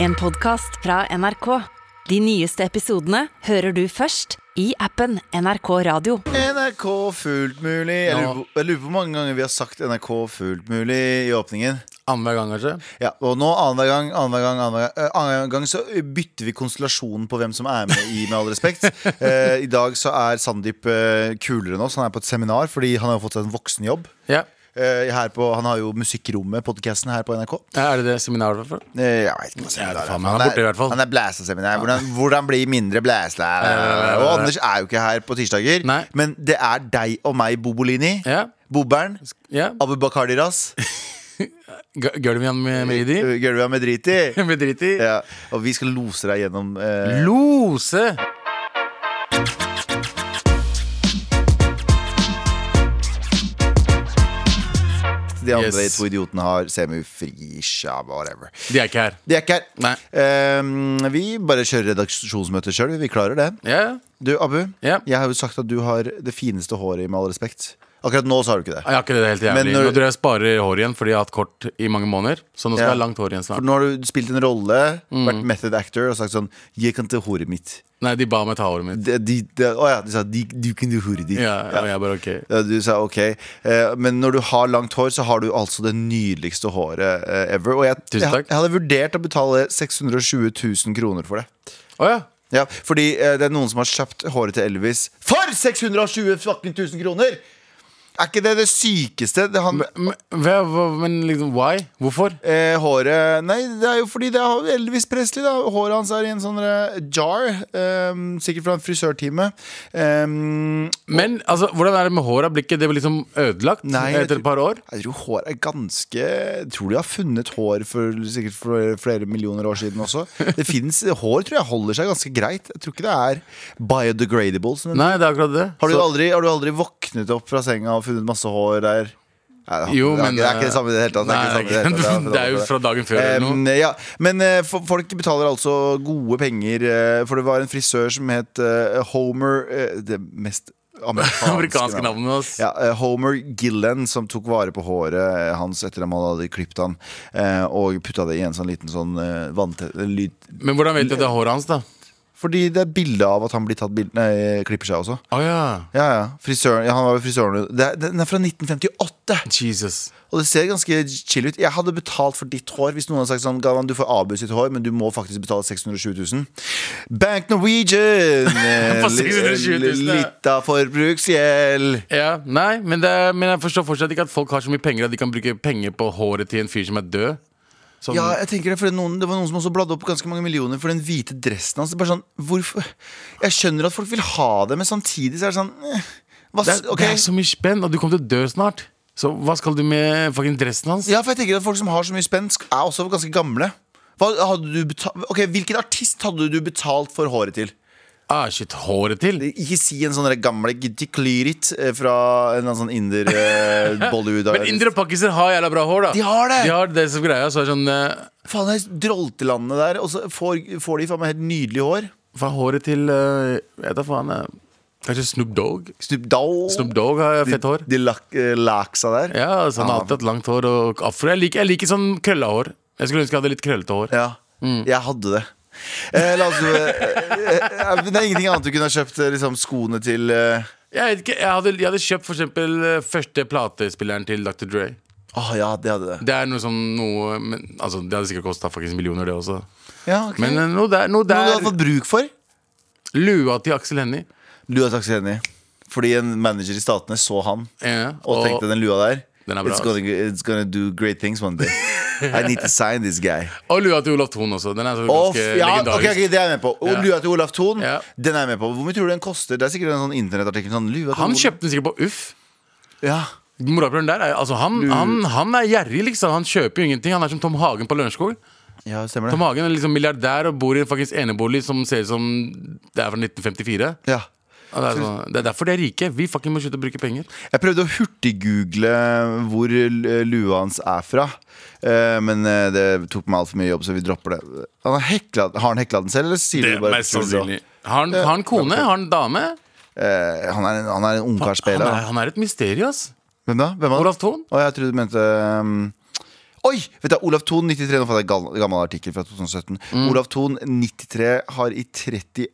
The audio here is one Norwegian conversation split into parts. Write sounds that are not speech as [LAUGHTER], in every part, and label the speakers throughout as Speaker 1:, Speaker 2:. Speaker 1: En podcast fra NRK. De nyeste episodene hører du først i appen NRK Radio.
Speaker 2: NRK fullt mulig. Jeg
Speaker 3: Ja.
Speaker 2: lurer, på, jeg lurer på hvor mange ganger vi har sagt NRK fullt mulig i åpningen.
Speaker 3: Annenhver gang, kanskje?
Speaker 2: Ja, Og nå annenhver gang, annenhver gang, annenhver gang, eh, annen gang så bytter vi konstellasjonen på hvem som er med i Med all
Speaker 3: [LAUGHS]
Speaker 2: respekt. Eh, I dag så er Sandeep eh, kulere enn oss. Han er på et seminar fordi han har jo fått seg en voksenjobb.
Speaker 3: Ja.
Speaker 2: Eh, her på, han har jo Musikkrommet, podcasten her på NRK.
Speaker 3: Er det det seminaret for?
Speaker 2: Eh, jeg vet ikke hva
Speaker 3: Jeg
Speaker 2: seminar
Speaker 3: vet
Speaker 2: er.
Speaker 3: faen, men han er borte i hvert fall.
Speaker 2: Han er blæsa-seminar. Hvordan, hvordan bli mindre
Speaker 3: [LAUGHS]
Speaker 2: blæsa? Og Anders er jo ikke her på tirsdager.
Speaker 3: Nei.
Speaker 2: Men det er deg og meg, Bobolini.
Speaker 3: Ja.
Speaker 2: Bobbern.
Speaker 3: ja.
Speaker 2: Abu Bakar Diras.
Speaker 3: G- Gulvian med Meridi?
Speaker 2: Gulvet med drit i.
Speaker 3: [LAUGHS] Med drit i?
Speaker 2: Ja, og vi skal lose deg gjennom eh,
Speaker 3: Lose!
Speaker 2: de andre
Speaker 3: Yes.
Speaker 2: to idiotene har semifri shabba, whatever.
Speaker 3: De er ikke her.
Speaker 2: De er ikke her.
Speaker 3: Nei.
Speaker 2: Eh, vi bare kjører redaksjonsmøte sjøl. Vi klarer det.
Speaker 3: Ja.
Speaker 2: Du, Abu,
Speaker 3: Ja.
Speaker 2: jeg har jo sagt at du har det fineste håret, i med all respekt. Akkurat nå så har du ikke det.
Speaker 3: Jeg har ikke det helt
Speaker 2: Men
Speaker 3: jævlig.
Speaker 2: når-
Speaker 3: Nå tror jeg jeg sparer hår igjen fordi jeg har hatt kort i mange måneder. Så Mm. nå
Speaker 2: Ja.
Speaker 3: skal jeg ha langt hår igjen
Speaker 2: For
Speaker 3: snart.
Speaker 2: nå har du spilt en rolle, vært method actor og sagt sånn Jeg kan ta håret mitt.
Speaker 3: Nei, de ba meg ta håret mitt.
Speaker 2: De, de, de, å ja, de sa de, du kan ta håret ditt.
Speaker 3: Ja, og jeg bare ok.
Speaker 2: Ja, Du sa ok, eh, men når du har langt hår, så har du altså det nydeligste håret eh, ever. Og jeg,
Speaker 3: Tusen
Speaker 2: jeg,
Speaker 3: takk.
Speaker 2: jeg hadde vurdert å betale 620 000 kroner for det.
Speaker 3: Å ja.
Speaker 2: Ja, fordi eh, det er noen som har kjøpt håret til Elvis for 620 fucking 000 kroner! Er ikke det det sykeste? Det han,
Speaker 3: Men, hva- hva- men liksom, why? Hvorfor?
Speaker 2: eh, håret Nei, det er jo fordi det er Elvis Presley, da. Håret hans er i en sånn eh, jar. eh, sikkert fra en frisørtime. Eh,
Speaker 3: Men altså, hvordan er det med håret? Blir ikke det liksom ødelagt
Speaker 2: Nei, jeg
Speaker 3: etter
Speaker 2: tror-
Speaker 3: et par år?
Speaker 2: Jeg tror hår er ganske Jeg tror de har funnet hår for sikkert for flere millioner år siden også. Det finnes, Hår tror jeg holder seg ganske greit. Jeg tror ikke det er biodegradable. Som det-
Speaker 3: Nei, det er akkurat det.
Speaker 2: har, du
Speaker 3: Så-
Speaker 2: aldri, har du aldri våknet opp fra senga og funnet masse hår der? Nei, det,
Speaker 3: Jo,
Speaker 2: det, er,
Speaker 3: men,
Speaker 2: ikke- det er ikke det samme i det hele tatt.
Speaker 3: Nei, [LAUGHS]
Speaker 2: det er ikke det samme i det hele tatt.
Speaker 3: det er jo fra dagen før eller noe.
Speaker 2: Em, ja. Men eh, fo- folk betaler altså gode penger, eh, for det var en frisør som het eh, Homer eh, Det mest amerikanske,
Speaker 3: [LAUGHS] Amerikanske navnet hans.
Speaker 2: ja, eh, Homer Gillen som tok vare på håret eh, hans etter at man hadde klippet han eh, Og putta det i en sånn liten sånn eh, vanntett eh, lyd
Speaker 3: Men hvordan vet du at det er håret hans, da?
Speaker 2: Fordi det er bilde av at han blir tatt bild, nei, klipper seg også
Speaker 3: Å ja.
Speaker 2: Ja, ja, frisøren, ja han var jo frisøren det er, Den er fra 1958
Speaker 3: Jesus.
Speaker 2: Og det ser ganske chill ut Jeg hadde betalt for ditt hår Hvis noen hadde sagt sånn Galvan, du får avbud sitt hår Men du må faktisk betale 620 000 Bank Norwegian eh,
Speaker 3: På 620 000, ja.
Speaker 2: Litt av forbruksgjeld
Speaker 3: Ja, nei, men, det, men jeg forstår fortsatt ikke at folk har så mye penger at de kan bruke penger på håret til en fyr som er død. Sånn,
Speaker 2: Ja, jeg tenker det, for det, er noen, det var noen som også bladde opp ganske mange millioner for den hvite dressen hans. Det er bare sånn, hvorfor? Jeg skjønner at folk vil ha det, men samtidig så er det sånn eh, hva,
Speaker 3: det,
Speaker 2: s-
Speaker 3: er,
Speaker 2: ok.
Speaker 3: det er så mye spenn, og du kommer til å dø snart. Så hva skal du med fucking dressen hans?
Speaker 2: Ja, for jeg tenker at folk som har så mye spenn, sk- er også ganske gamle. Hva hadde du betalt, ok, Hvilken artist hadde du betalt for håret til?
Speaker 3: Ah, shit, håret til?
Speaker 2: Ikke si en sånn der gamle Gidiklirit fra en eller annen sånn inder
Speaker 3: [LAUGHS]
Speaker 2: eh, Bollywood
Speaker 3: Men indere og pakiser har jævla bra hår, da.
Speaker 2: De har det!
Speaker 3: De har det som greia. Så er det sånn eh,
Speaker 2: Faen, det er droltelandene der, og så får, får de faen meg helt nydelig hår.
Speaker 3: Hva er håret til eh, Jeg vet da faen. eh, Kanskje Snoop Dogg?
Speaker 2: Snoop Dogg.
Speaker 3: Snoop Dogg har fett
Speaker 2: De,
Speaker 3: hår.
Speaker 2: Ah. de lak, eh, laksa der.
Speaker 3: Ja, altså, Han har
Speaker 2: Ja.
Speaker 3: alltid hatt langt hår og afro. Jeg liker, jeg liker sånn krølla hår. Jeg skulle ønske jeg hadde litt krøllete hår.
Speaker 2: Ja,
Speaker 3: Mm.
Speaker 2: jeg hadde det eh, la oss, eh, eh, men Det er ingenting annet du kunne ha kjøpt eh, liksom, skoene til eh,
Speaker 3: Jeg, vet ikke, jeg, hadde, jeg hadde kjøpt for eksempel eh, første platespilleren til Dr. Dre.
Speaker 2: Åh, ja, det hadde det
Speaker 3: Det er noe sånn noe men, altså, Det hadde sikkert kosta faktisk millioner, det også.
Speaker 2: ja, ok.
Speaker 3: Men eh, noe der. Noe
Speaker 2: Noe du hadde
Speaker 3: der
Speaker 2: fått bruk for?
Speaker 3: Lua til Aksel Hennie.
Speaker 2: Lua takk skal enig Fordi en manager i statene så han
Speaker 3: Ja,
Speaker 2: Og
Speaker 3: og-
Speaker 2: tenkte den lua der
Speaker 3: Den er bra, altså."
Speaker 2: it's, gonna, it's gonna do great things one
Speaker 3: [LAUGHS]
Speaker 2: day I need to sign this guy
Speaker 3: Og lua til Olav Thon også. Den er så
Speaker 2: Off,
Speaker 3: ganske
Speaker 2: ja,
Speaker 3: legendarisk.
Speaker 2: ok, ok, det er jeg med på Og
Speaker 3: Ja.
Speaker 2: lua til Olaf Thon
Speaker 3: Ja.
Speaker 2: Den er jeg med på Hvor mye tror du den koster? Det er sikkert en sånn internettartikkel sånn, lua til
Speaker 3: Han
Speaker 2: Olaf-
Speaker 3: kjøpte den sikkert på Uff.
Speaker 2: Ja
Speaker 3: Morapuleren der er, altså, han, han, han er gjerrig, liksom. Han kjøper jo ingenting. Han er som Tom Hagen på Lørenskog.
Speaker 2: Ja, stemmer
Speaker 3: Tom
Speaker 2: det
Speaker 3: Hagen er liksom milliardær og bor i en faktisk enebolig som ser ut som det er fra 1954.
Speaker 2: Ja
Speaker 3: Og Det er, sånn, det er derfor de er rike. Vi fucking må slutte å bruke penger.
Speaker 2: Jeg prøvde å hurtiggoogle hvor l- lua hans er fra, eh, men eh, det tok meg altfor mye jobb, så vi dropper det. Han har, hekla, har han hekla den selv, eller sier
Speaker 3: Det
Speaker 2: du
Speaker 3: er
Speaker 2: bare
Speaker 3: mest sannsynlig. Har han, har han kone? Har han dame?
Speaker 2: Eh, han, er en, han er en
Speaker 3: Han
Speaker 2: ungkarspeler.
Speaker 3: er, han er et mysterium, ass.
Speaker 2: Hvem da? Hvem er han?
Speaker 3: Olav Thon.
Speaker 2: Å, jeg trodde du mente um, Oi! vet du, Olav Thon 93, nå fant jeg en gal- gammel artikkel fra 2017. Olav Thon 93 har i 30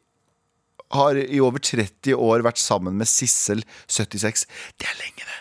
Speaker 2: har i over 30 år vært sammen med Sissel 76. Det er lenge, det!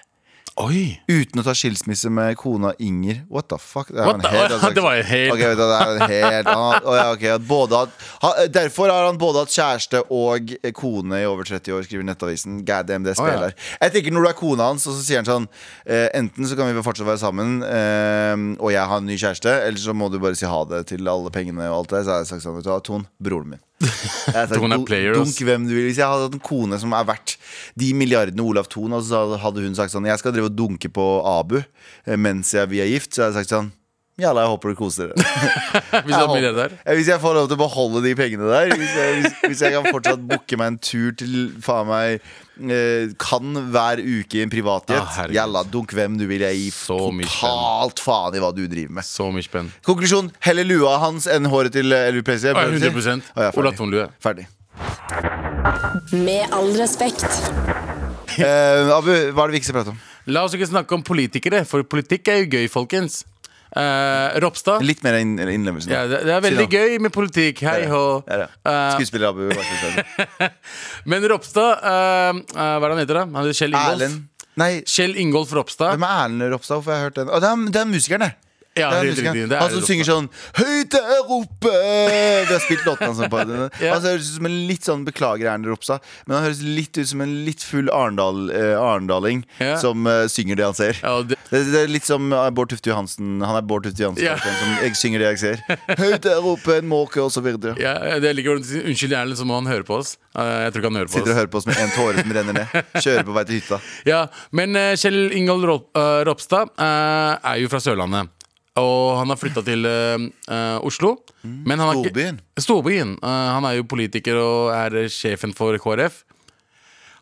Speaker 3: Oi!
Speaker 2: Uten å ta skilsmisse med kona Inger. What the fuck? Det, er
Speaker 3: What
Speaker 2: en
Speaker 3: the-
Speaker 2: altså.
Speaker 3: [LAUGHS] Det var jo helt-
Speaker 2: Ok, vet du, det er en helt han har- å ja, ok, han både hatt- ha- Derfor har han både hatt kjæreste og kone i over 30 år, skriver Nettavisen. God damn, det
Speaker 3: Å, ja.
Speaker 2: spiller. Jeg tenker Når du er kona hans, og så sier han sånn eh, Enten så kan vi vel fortsatt være sammen, eh, og jeg har en ny kjæreste, eller så må du bare si ha det til alle pengene og alt det. Så har jeg sagt sånn, vet du hva, Ton, broren min. Jeg har sagt,
Speaker 3: Thon er
Speaker 2: "Dunk-
Speaker 3: player, ass."
Speaker 2: Dunk hvem du vil. Hvis jeg hadde hatt en kone som er verdt de milliardene Olav Thon, og så hadde hun sagt sånn Jeg skal drive og dunke på Abu eh, mens jeg, vi er gift, så hadde jeg sagt sånn Jalla, jeg håper dere koser dere.
Speaker 3: [LAUGHS] Hvis du
Speaker 2: Jeg
Speaker 3: hadde
Speaker 2: håper-
Speaker 3: milliard der.
Speaker 2: Eh, Hvis jeg får lov til å beholde de pengene der, hvis jeg, hvis, hvis jeg kan fortsatt booke meg en tur til faen meg eh, Kan hver uke i en
Speaker 3: Ah,
Speaker 2: privatjet.
Speaker 3: herregud.
Speaker 2: Jalla, dunk hvem du vil. Jeg gir
Speaker 3: Så mye
Speaker 2: totalt faen i hva du driver med.
Speaker 3: Så mye spenn.
Speaker 2: Konklusjon heller lua hans enn håret til eh, Elvis Presley.
Speaker 3: Å, ja,
Speaker 2: prøver å si.
Speaker 3: 100
Speaker 2: Å, ja, ferdig.
Speaker 3: Olav Thonlue.
Speaker 2: Ferdig.
Speaker 1: Med all respekt.
Speaker 2: Eh, Abu, hva er det vi ikke skal prate om?
Speaker 3: La oss ikke snakke om politikere, for politikk er jo gøy, folkens. Eh, Ropstad.
Speaker 2: Litt mer inn innlevelse.
Speaker 3: Ja, det, det er veldig gøy med politikk. Hei hå. Eh,
Speaker 2: Skuespiller Abu. hva skal
Speaker 3: [LAUGHS]
Speaker 2: jeg si?
Speaker 3: men Ropstad eh, eh, Hva er det han heter, da? Han heter Kjell Ingolf.
Speaker 2: Erlend Nei,
Speaker 3: Kjell Ingolf Ropstad.
Speaker 2: hvem er Erlend Ropstad? Hvorfor har jeg hørt den? Å, det, er, det er musikeren, det.
Speaker 3: Ja,
Speaker 2: det er
Speaker 3: helt riktig,
Speaker 2: musikeren.
Speaker 3: det er
Speaker 2: han
Speaker 3: Erlend
Speaker 2: som synger sånn Høyt der oppe! Vi har spilt låten hans på den.
Speaker 3: Ja.
Speaker 2: Han høres ut som en litt sånn Beklager, Erlend Ropstad, men han høres litt ut som en litt full Arendal, eh, arendaling
Speaker 3: Ja.
Speaker 2: som eh, synger det han ser.
Speaker 3: Ja, og det,
Speaker 2: Det, det er litt som eh, Bård Tufte Johansen. Han er Bård Tufte Johansen
Speaker 3: Ja.
Speaker 2: sånn som jeg synger det jeg ser. Høyt der oppe, en måke, og så videre.
Speaker 3: ja, det ligger ordentlig Unnskyld, Erlend, så må han høre på oss. Eh, jeg tror ikke han hører på
Speaker 2: Sitter og
Speaker 3: oss.
Speaker 2: hører på oss med en tåre som renner ned. Kjører på vei til hytta.
Speaker 3: Ja, men eh, Kjell Ingolf Rop, eh, Ropstad eh, er jo fra Sørlandet. Og han har flytta til eh, eh, Oslo.
Speaker 2: Mm.
Speaker 3: Men han har ikke-
Speaker 2: Storbyen.
Speaker 3: Storbyen. Eh, han er jo politiker og er eh, sjefen for KrF.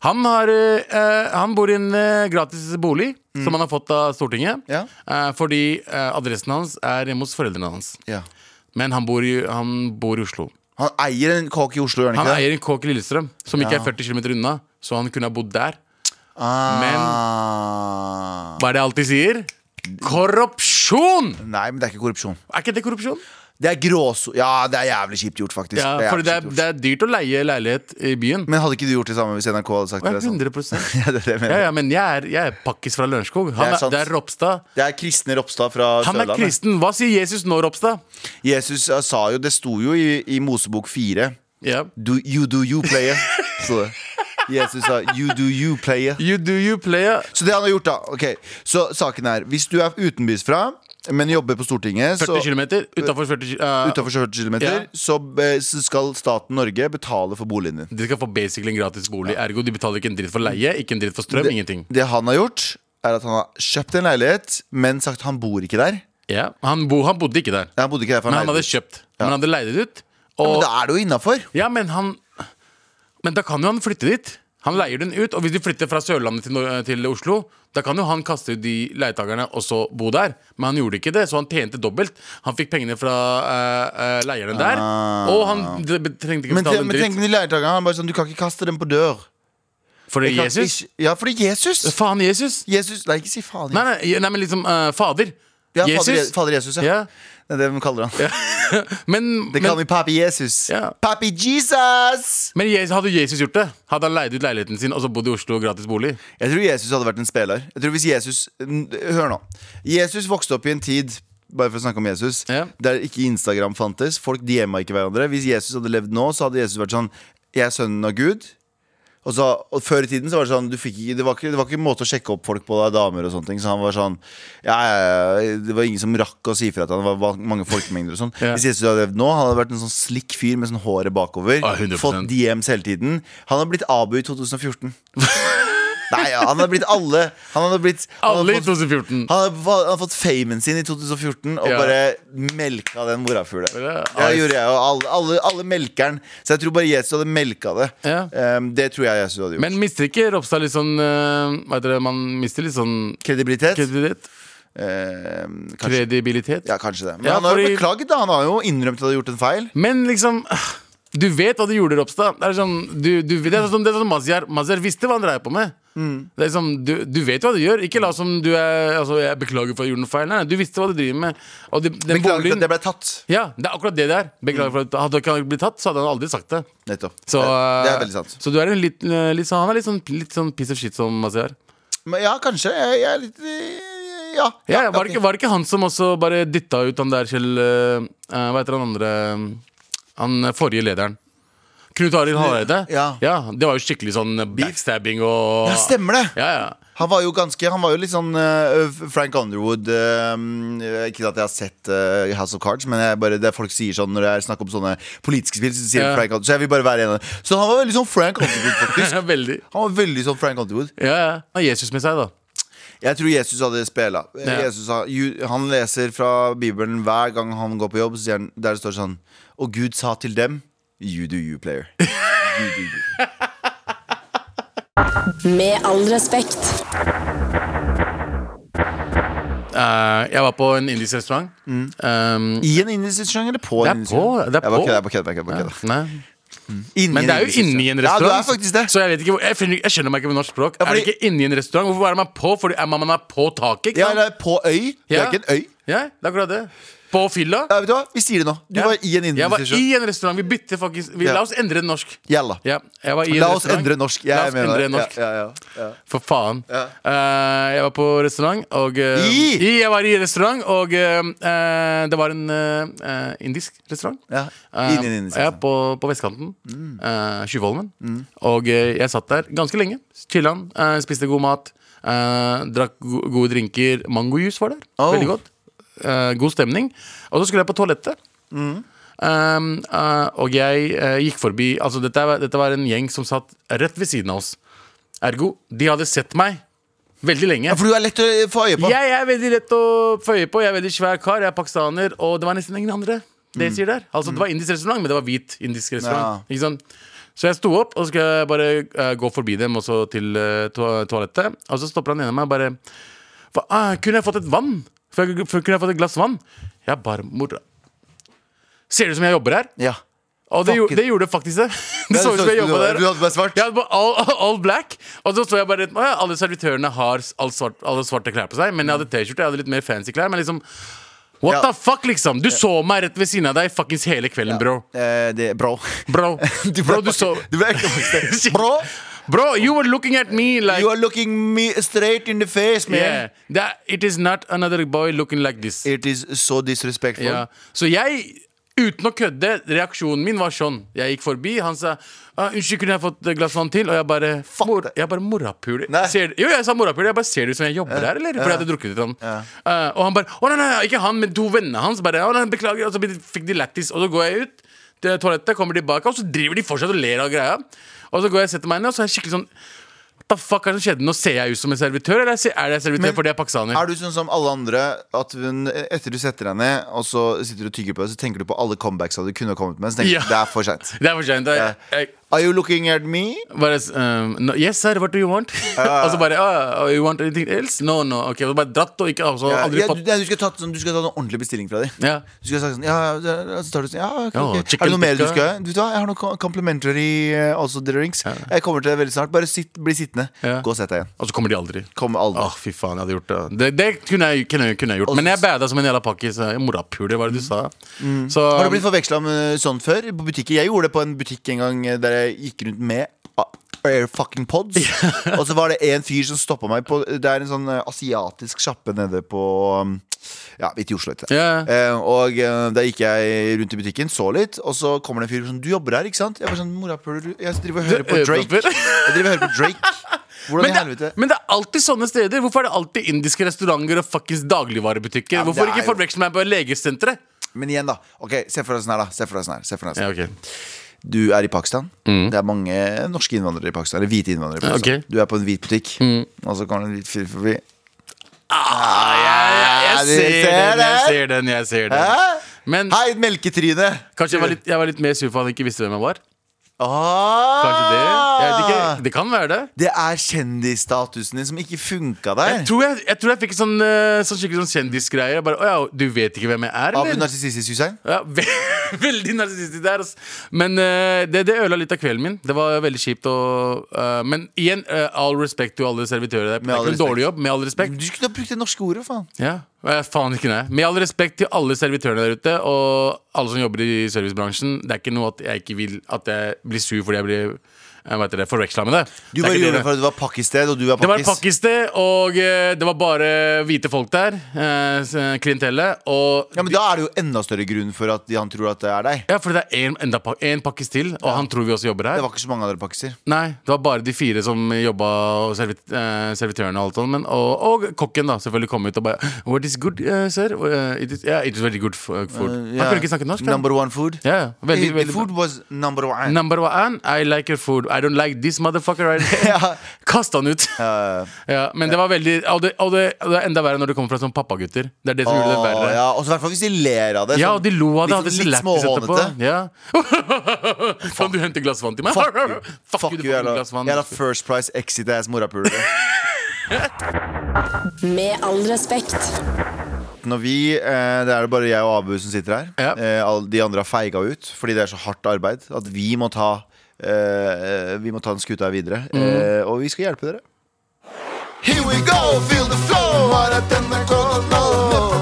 Speaker 3: Han, har, eh, eh, han bor i en eh, gratis bolig som han har fått av Stortinget.
Speaker 2: Mm. Ja.
Speaker 3: eh, fordi eh, adressen hans er hjemme hos foreldrene hans.
Speaker 2: Ja.
Speaker 3: Men han bor i, han bor i Oslo.
Speaker 2: Han eier en kåk i Oslo, gjør han
Speaker 3: Han
Speaker 2: ikke det?
Speaker 3: eier en kåk i Lillestrøm, som ikke
Speaker 2: Ja.
Speaker 3: er 40 km unna. Så han kunne ha bodd der.
Speaker 2: Ah.
Speaker 3: Hva er det jeg alltid sier? Korrupsjon!
Speaker 2: Nei, men det er ikke korrupsjon.
Speaker 3: Er ikke det korrupsjon?
Speaker 2: Det er gråso... Ja, det er jævlig kjipt gjort, faktisk.
Speaker 3: Ja,
Speaker 2: Det er
Speaker 3: for
Speaker 2: jævlig
Speaker 3: det er,
Speaker 2: kjipt gjort.
Speaker 3: det er dyrt å leie leilighet i byen.
Speaker 2: Men hadde ikke du gjort det samme hvis NRK hadde sagt
Speaker 3: Ja,
Speaker 2: til deg sånn?
Speaker 3: 100
Speaker 2: [LAUGHS] Ja, det, er det, jeg mener.
Speaker 3: Ja, ja, men jeg er, jeg er pakkis fra Lørenskog. Han
Speaker 2: Det er
Speaker 3: er,
Speaker 2: sant.
Speaker 3: det er Ropstad.
Speaker 2: det er Kristne Ropstad fra
Speaker 3: Han er
Speaker 2: Sørlandet.
Speaker 3: kristen. Hva sier Jesus nå, Ropstad?
Speaker 2: Jesus eh, sa jo Det sto jo i, i Mosebok 4
Speaker 3: Ja.
Speaker 2: do, You do you,
Speaker 3: [LAUGHS]
Speaker 2: player. Så det. Jesus sa you do you, player.
Speaker 3: You do you play ja.
Speaker 2: Så det han har gjort, da. ok Så saken er, hvis du er utenbys fra, men jobber på Stortinget
Speaker 3: 40
Speaker 2: så,
Speaker 3: km utafor 40 eh,
Speaker 2: utenfor 40 km,
Speaker 3: Ja.
Speaker 2: så, eh, så skal staten Norge betale for boligen din.
Speaker 3: De skal få basically en gratis bolig. Ergo de betaler ikke en dritt for leie, ikke en dritt for strøm, ingenting.
Speaker 2: Det han har gjort, er at han har kjøpt en leilighet, men sagt han bor ikke der.
Speaker 3: Ja. Han, bo, han bodde ikke der,
Speaker 2: Ja, Han bodde ikke der for
Speaker 3: men
Speaker 2: han
Speaker 3: han
Speaker 2: leide
Speaker 3: hadde
Speaker 2: ut.
Speaker 3: kjøpt. Men han hadde leid det ut.
Speaker 2: Ja,
Speaker 3: Og
Speaker 2: men da er det jo innafor.
Speaker 3: Ja, men han Men da kan jo han flytte dit. Han leier den ut, og hvis de flytter fra Sørlandet til, Nor- til Oslo, da kan jo han kaste ut de leietakerne og så bo der. Men han gjorde ikke det, så han tjente dobbelt. Han fikk pengene fra eh, eh, leierne der, og han d- b- trengte
Speaker 2: Ah.
Speaker 3: ikke
Speaker 2: Men, te-
Speaker 3: betale en
Speaker 2: men tenk
Speaker 3: dritt.
Speaker 2: med de leietakerne. Han er bare sånn, du kan ikke kaste dem på dør.
Speaker 3: For det
Speaker 2: Jeg
Speaker 3: er
Speaker 2: kan
Speaker 3: Jesus?
Speaker 2: ikke- Ja, fordi Jesus.
Speaker 3: Faen, Jesus!
Speaker 2: Jesus Nei, ikke si faen.
Speaker 3: Nei, nei, nei men liksom eh, Fader.
Speaker 2: Ja, Fader, Je-
Speaker 3: Jesus.
Speaker 2: Fader Jesus, ja.
Speaker 3: Ja.
Speaker 2: Det er det de kaller han.
Speaker 3: Men,
Speaker 2: Det
Speaker 3: men,
Speaker 2: kaller vi Papi Jesus.
Speaker 3: Ja.
Speaker 2: Papi Jesus!
Speaker 3: men Jesus, hadde Jesus gjort det? Hadde han leid ut leiligheten sin og så bodd i Oslo gratis bolig?
Speaker 2: Jeg tror Jesus hadde vært en spiller. Jeg tror hvis Jesus n- Hør nå. Jesus vokste opp i en tid bare for å snakke om Jesus
Speaker 3: Ja.
Speaker 2: der ikke Instagram fantes. Folk DM-a ikke hverandre. Hvis Jesus hadde levd nå, så hadde Jesus vært sånn Jeg er sønnen av Gud. Og, så, og Før i tiden så var det sånn du fikk, ikke- det, var ikke, det var ikke en måte å sjekke opp folk på da, damer og sånne ting. Så han var sånn ja, ja, ja, Det var ingen som rakk å si ifra til han Det var va- mange folkemengder og sånn.
Speaker 3: Ja.
Speaker 2: Hvis Jesus hadde levd nå, han hadde vært en sånn slikk fyr med sånn håret bakover.
Speaker 3: Ja, 100%.
Speaker 2: Fått DMs hele tiden. Han hadde blitt Abu i 2014. Nei, ja, han hadde blitt alle. Han hadde blitt han hadde
Speaker 3: Alle i
Speaker 2: fått-
Speaker 3: 2014.
Speaker 2: han hadde, fa- han hadde fått famen sin i 2014 og
Speaker 3: Ja.
Speaker 2: bare melka den morafuglen.
Speaker 3: Ja,
Speaker 2: Det
Speaker 3: nice.
Speaker 2: gjorde jeg og alle, alle, alle melkeren. Så jeg tror bare Jesus hadde melka det.
Speaker 3: Ja.
Speaker 2: Ehm, det tror jeg Jesus hadde gjort.
Speaker 3: Men mister ikke Ropstad litt sånn eh, Hva heter det, man mister litt sånn
Speaker 2: Kredibilitet?
Speaker 3: kredibilitet?
Speaker 2: Ehm, kanskje.
Speaker 3: Kredibilitet?
Speaker 2: Ja, kanskje det. Men
Speaker 3: Ja,
Speaker 2: han har jo
Speaker 3: fordi-
Speaker 2: beklaget, da. Han har jo innrømt at han har gjort en feil.
Speaker 3: Men liksom Du vet hva du gjorde, Ropstad. Det er sånn, du, du, det er sånn, det er sånn Mazyar, Mazyar visste hva han dreier på med.
Speaker 2: Mm.
Speaker 3: Det er sånn, du, du vet hva du gjør. Ikke la som du er altså, Jeg beklager for at jeg gjorde noe feil. Nei, nei, du visste hva du driver med. Og det, den
Speaker 2: Beklager at
Speaker 3: boligen-
Speaker 2: jeg ble tatt.
Speaker 3: ja, det er akkurat det det er. Beklager for at Hadde ikke han blitt tatt, så hadde han aldri sagt det.
Speaker 2: Nettopp.
Speaker 3: Så, eh,
Speaker 2: det, det er veldig sant.
Speaker 3: Så du er en litt, eh, litt sånn, han er litt sånn, litt sånn piece of shit som Mazyar.
Speaker 2: Men ja, kanskje. Jeg, jeg er litt eh, Ja.
Speaker 3: Ja, ja, var, det
Speaker 2: ok.
Speaker 3: ikke, var det ikke han som også bare dytta ut han der Kjell eh, eh, Hva heter han andre Han eh, forrige lederen. Knut Arild Hareide.
Speaker 2: Ja.
Speaker 3: Det var jo skikkelig sånn eh, backstabbing og
Speaker 2: Ja, stemmer det!
Speaker 3: Ja, ja.
Speaker 2: Han var jo ganske Han var jo litt sånn eh, Frank Underwood eh, Ikke at jeg har sett eh, House of Cards, men jeg bare, det er folk sier sånn når det er snakk om sånne politiske spill, så sier
Speaker 3: Ja.
Speaker 2: Frank Underwood Så jeg vil bare være en av dem. Så han var veldig sånn Frank Underwood, faktisk.
Speaker 3: [LAUGHS] Veldig.
Speaker 2: Han var veldig sånn Frank Underwood.
Speaker 3: Ja, ja. Han har Jesus med seg, da.
Speaker 2: Jeg tror Jesus hadde spela.
Speaker 3: Ja.
Speaker 2: Jesus, han, Ju- han leser fra Bibelen hver gang han går på jobb, så sier han, der det står sånn Og Gud sa til dem You do you,
Speaker 3: [LAUGHS]
Speaker 2: player. You do you.
Speaker 1: Med all respekt.
Speaker 3: Eh, jeg var på en indisk restaurant. Eh,
Speaker 2: Mm. I en indisk restaurant eller på
Speaker 3: Det er
Speaker 2: en indisk
Speaker 3: på,
Speaker 2: restaurant?
Speaker 3: det er
Speaker 2: Jeg bare
Speaker 3: på.
Speaker 2: kødder, jeg bare kødder, jeg bare kødder.
Speaker 3: nei.
Speaker 2: Inni
Speaker 3: Men
Speaker 2: en
Speaker 3: det er jo
Speaker 2: indisk
Speaker 3: inni en
Speaker 2: Ja,
Speaker 3: restaurant.
Speaker 2: du er faktisk det.
Speaker 3: Så jeg vet ikke hvor, jeg, finner, jeg skjønner meg ikke med norsk språk.
Speaker 2: Ja, fordi-
Speaker 3: Er det ikke inni en restaurant? Hvorfor er man på? Fordi er man man er på taket, ikke
Speaker 2: Ja,
Speaker 3: sant?
Speaker 2: eller på øy. Det er
Speaker 3: Ja.
Speaker 2: ikke en øy.
Speaker 3: Ja, det er akkurat det. På fylla.
Speaker 2: Ja, vet du hva? Vi sier det nå. Du
Speaker 3: Ja.
Speaker 2: var i en
Speaker 3: Jeg var
Speaker 2: indisk
Speaker 3: i
Speaker 2: restaurant.
Speaker 3: en restaurant. Vi bytter faktisk vi,
Speaker 2: Ja.
Speaker 3: La oss endre norsk.
Speaker 2: Jalla.
Speaker 3: Ja, jeg var i en
Speaker 2: La oss
Speaker 3: restaurant.
Speaker 2: endre norsk. Jeg
Speaker 3: La oss
Speaker 2: er med deg.
Speaker 3: endre norsk.
Speaker 2: Ja, ja, ja, ja.
Speaker 3: For faen.
Speaker 2: Ja.
Speaker 3: Eh, jeg var på restaurant, og eh,
Speaker 2: I?
Speaker 3: Jeg var i restaurant, og eh, eh, det var en eh, eh, indisk restaurant.
Speaker 2: Ja,
Speaker 3: Eh,
Speaker 2: inn i Mm. en indisk
Speaker 3: ja,
Speaker 2: restaurant.
Speaker 3: på, på vestkanten. eh, Tjuvholmen.
Speaker 2: Mm.
Speaker 3: Og eh, jeg satt der ganske lenge. Chilla'n. eh, spiste god mat. eh, drakk go gode drinker. Mangojus var der.
Speaker 2: Oh.
Speaker 3: Veldig godt. Eh, god stemning. Og så skulle jeg på toalettet.
Speaker 2: Mm.
Speaker 3: Um, eh, og jeg eh, gikk forbi Altså dette, var- dette var en gjeng som satt rett ved siden av oss. Ergo, de hadde sett meg veldig lenge.
Speaker 2: Ja, for du er lett å få øye på.
Speaker 3: Jeg er veldig lett å føye på. Jeg er veldig svær kar. Jeg er pakistaner. Og det var nesten ingen andre. Det
Speaker 2: Mm.
Speaker 3: jeg sier der Altså det var indisk restaurant, men det var hvit indisk restaurant. Ikke sant? Så jeg sto opp, og så skal jeg bare eh, gå forbi dem og så til eh, toa- toalettet. Og så stopper han ene av meg og bare Hva, ah, Kunne jeg fått et vann? For jeg, for, kunne jeg fått et glass vann? Jeg bare mora. Ser det ut som jeg jobber her?
Speaker 2: Ja.
Speaker 3: Og det,
Speaker 2: Fuck
Speaker 3: gjo-
Speaker 2: it.
Speaker 3: det gjorde faktisk det. [LAUGHS] Det så ut som jeg jobba der.
Speaker 2: Du hadde bare svart.
Speaker 3: Jeg hadde på all, all black, og så så jeg bare Å ja, alle servitørene har s- all svart, alle svarte klær på seg, men jeg hadde T-skjorte, jeg hadde litt mer fancy klær, men liksom What
Speaker 2: Ja.
Speaker 3: the fuck, liksom? Du så meg rett ved siden av deg fuckings hele kvelden, bro.
Speaker 2: Eh, det,
Speaker 3: [LAUGHS]
Speaker 2: bro.
Speaker 3: Bro,
Speaker 2: [LAUGHS] Du
Speaker 3: bro,
Speaker 2: ble-
Speaker 3: du så
Speaker 2: Du ble ekte
Speaker 3: [LAUGHS]
Speaker 2: faktisk. Bro,
Speaker 3: Bro, you were looking at me like
Speaker 2: you are looking me straight in the face, man.
Speaker 3: yeah, that, It is not another boy looking like this.
Speaker 2: It is so disrespectful.
Speaker 3: Ja. Så jeg, uten å kødde, reaksjonen min var sånn. Jeg gikk forbi, han sa «Ah, 'Unnskyld, kunne jeg fått et glass vann til?' Og jeg bare
Speaker 2: Fuck
Speaker 3: mor,
Speaker 2: det.
Speaker 3: Jeg bare morapuler.
Speaker 2: Nei.
Speaker 3: Ser- Jo, jeg sa morapuler. Jeg bare ser det ut som jeg jobber her, eller? Fordi jeg hadde drukket litt. Han. Eh, og han bare 'Å nei, nei, nei, ikke han, men to vennene hans'. Bare, «Å, nei, 'Beklager.' Og så blir- fikk de lættis. Og så går jeg ut til toalettet, kommer tilbake, og så driver de fortsatt og ler av greia. Og så går jeg og setter meg ned, og så er jeg skikkelig sånn What the fuck er det som skjedde? Nå ser jeg ut som en servitør, eller er jeg servitør
Speaker 2: Men-
Speaker 3: fordi jeg er pakistaner?
Speaker 2: Er du sånn som alle andre at hun, etter du setter deg ned og så sitter du og tygger på det, så tenker du på alle comebacksa du kunne kommet med? Så tenker du,
Speaker 3: Ja.
Speaker 2: det er for sent.
Speaker 3: Det er for seint. Jeg, jeg,
Speaker 2: Are you looking at me?
Speaker 3: Bare, um, no, yes, sir, what do you want? [LAUGHS] og så bare oh, You want anything else? No, no. Ok, så bare dratt og ikke altså,
Speaker 2: Ja,
Speaker 3: aldri
Speaker 2: ja, du,
Speaker 3: fått
Speaker 2: ja, du skal ta sånn, du skal ta en ordentlig bestilling fra dem.
Speaker 3: ja.
Speaker 2: Du skal sagt sånn, ja, ja, ja, så tar du sånn, ja, ok,
Speaker 3: Ja,
Speaker 2: ok. Er
Speaker 3: chicken
Speaker 2: det noe mer du
Speaker 3: tikka.
Speaker 2: skal ha? Du vet hva, jeg har noen complimentary eh, also drinks. Jeg kommer til det veldig snart. Bare sitt, bli sittende.
Speaker 3: Ja. Ah.
Speaker 2: Gå og sett deg igjen.
Speaker 3: Og så kommer de aldri.
Speaker 2: Kom aldri.
Speaker 3: Åh, fy faen, jeg hadde gjort det. Det, det kunne, jeg, kunne, jeg, kunne jeg gjort. Men jeg bada som en jævla pakkis. eh, Morapuler, hva er det du sa? Så
Speaker 2: Mm. Har du blitt forveksla med sånn før? På butikker? Jeg gjorde det på en butikk en gang eh, der jeg gikk rundt med ah, Air fucking pods. og så var det en fyr som stoppa meg på Det er en sånn eh, asiatisk sjappe nede på um, Ja, midt i Oslo. Etter.
Speaker 3: Ja.
Speaker 2: Eh, og eh, da gikk jeg rundt i butikken, så litt, og så kommer det en fyr sånn Du jobber her, ikke sant? Jeg var sånn Morapuler, du- jeg driver og hører på Drake. Jeg driver og hører på
Speaker 3: [LAUGHS]
Speaker 2: Drake. Hvordan
Speaker 3: Men
Speaker 2: i
Speaker 3: det,
Speaker 2: helvete?
Speaker 3: men det er alltid sånne steder. Hvorfor er det alltid indiske restauranter og fuckings dagligvarebutikker?
Speaker 2: Ja, men
Speaker 3: Hvorfor
Speaker 2: det er
Speaker 3: ikke
Speaker 2: jo-
Speaker 3: forveksle meg på legesenteret?
Speaker 2: Men igjen, da. Ok, Se for deg sånn her, da. Se for deg sånn her. Se for deg sånn. her.
Speaker 3: Ja, ok. Mm.
Speaker 2: Du er i Pakistan. Det er mange norske innvandrere i Pakistan. Eller hvite innvandrere. i Pakistan
Speaker 3: Ok. Mm.
Speaker 2: Du er på en hvit butikk, og så kommer det en hvit fyr forbi.
Speaker 3: Ah, jeg, jeg,
Speaker 2: du
Speaker 3: jeg,
Speaker 2: ser
Speaker 3: ser den, jeg
Speaker 2: det.
Speaker 3: ser den, jeg ser den.
Speaker 2: Hæ?
Speaker 3: Men
Speaker 2: Hei, melketryne!
Speaker 3: kanskje jeg var litt, jeg var litt mer sur for at han ikke visste hvem jeg var.
Speaker 2: Ah!
Speaker 3: Kanskje det? Jeg vet ikke. Det kan være det.
Speaker 2: Det er kjendisstatusen din som ikke funka
Speaker 3: Jeg
Speaker 2: der.
Speaker 3: tror jeg, jeg, tror jeg fikk sånn, eh, sånn skikkelig sånn kjendisgreier. Jeg Bare, «Å ja, du vet ikke hvem jeg er,
Speaker 2: Abu
Speaker 3: eller?
Speaker 2: Narsissis Hussein.
Speaker 3: Ja, [LAUGHS] ve- veldig narsissistisk der. ass. Men eh, det, det ødela litt av kvelden min. Det var veldig kjipt. Og, eh, men igjen, eh, all respekt til alle servitører der. Det
Speaker 2: Med all
Speaker 3: er ikke en
Speaker 2: respekt. Mm.
Speaker 3: dårlig jobb. Med all respekt.
Speaker 2: Du kunne ha brukt det norske ordet, faen.
Speaker 3: Ja, eh, faen ikke nei Med all respekt til alle servitørene der ute Og alle som jobber i servicebransjen Det er ikke noe at jeg ikke vil At jeg blir sur fordi jeg blir jeg vet det, forvekslet med det
Speaker 2: Du
Speaker 3: Det er
Speaker 2: bare
Speaker 3: ikke
Speaker 2: gjorde
Speaker 3: det.
Speaker 2: det for at du var pakkisted, og du er
Speaker 3: Det var et
Speaker 2: pakkis.
Speaker 3: pakkested, og eh, det var bare hvite folk der eh, s- Klientellet Og
Speaker 2: Ja, men Da er det jo enda større grunn for at de- han tror at det er deg.
Speaker 3: ja, for det er en, enda pa- en pakkes til Og han tror vi også jobber her
Speaker 2: Det var ikke så mange andre pakkiser.
Speaker 3: Nei, det var bare de fire som jobba, og servit eh, servitørene og alt sånt. Men, og, og kokken, da, selvfølgelig kom ut og bare What is good, eh, sir? Uh, it is, yeah, it is very good f- uh, food. Han kunne ikke snakke norsk. han.
Speaker 2: Eh, Number one food.
Speaker 3: Ja, ja, veldig,
Speaker 2: The
Speaker 3: veldig bra.
Speaker 2: food was number one.
Speaker 3: Number one, I like your food. I don't like this motherfucker. right?
Speaker 2: [LAUGHS] Ja.
Speaker 3: Kast han ut!
Speaker 2: Eh,
Speaker 3: Ja, men det var veldig Og det, og det, og det er enda verre når det kommer fra sånne pappagutter. Det er det som gjorde det
Speaker 2: Åh,
Speaker 3: verre.
Speaker 2: ja, og så i hvert fall hvis de ler av det.
Speaker 3: Ja,
Speaker 2: sånn
Speaker 3: og de lo av det. Hadde så
Speaker 2: litt
Speaker 3: lættis etterpå.
Speaker 2: småhånete.
Speaker 3: Ja. [LAUGHS] Kan du hente et glass vann til meg?
Speaker 2: Fuck you.
Speaker 3: [LAUGHS] Fuck you, du får et
Speaker 2: jævla,
Speaker 3: glass vann.
Speaker 2: jævla First Price Exit ass morapulere.
Speaker 4: Med all respekt.
Speaker 2: Når vi, eh, Det er det bare jeg og Abu som sitter her.
Speaker 3: Ja.
Speaker 2: Eh, alle de andre har feiga ut fordi det er så hardt arbeid at vi må ta eh, Vi må ta den skuta her videre.
Speaker 3: Mm.
Speaker 2: Eh, og vi skal hjelpe dere. Here we go, feel the flow. Var at NRK nå?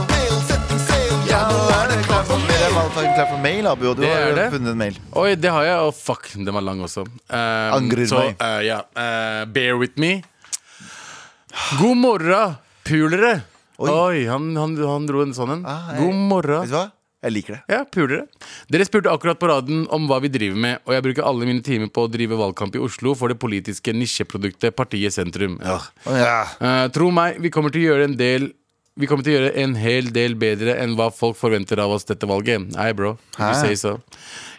Speaker 2: Ja, nå er det klar for mail. Det er motherfucking klar for mail, Abu. Og du
Speaker 3: Det
Speaker 2: har
Speaker 3: er det.
Speaker 2: funnet en mail.
Speaker 3: Oi, det har jeg, og fuck, den var lang også. Um,
Speaker 2: Angrer
Speaker 3: så,
Speaker 2: meg.
Speaker 3: eh, ja, eh, bear with me. God morgen, pulere. Oi,
Speaker 2: Oi.
Speaker 3: han, han, han dro en sånn en.
Speaker 2: Ah, jeg-
Speaker 3: God
Speaker 2: Vet
Speaker 3: morgen.
Speaker 2: du hva? Jeg liker det.
Speaker 3: Ja, pulere. Dere spurte akkurat på raden om hva vi driver med, og jeg bruker alle mine timer på å drive valgkamp i Oslo for det politiske nisjeproduktet Partiet Sentrum. Ja.
Speaker 2: Ja.
Speaker 3: Eh, tro meg, vi kommer til å gjøre en del Vi kommer til å gjøre en hel del bedre enn hva folk forventer av oss dette valget. Hei, bro. If you
Speaker 2: Hæ?
Speaker 3: say so.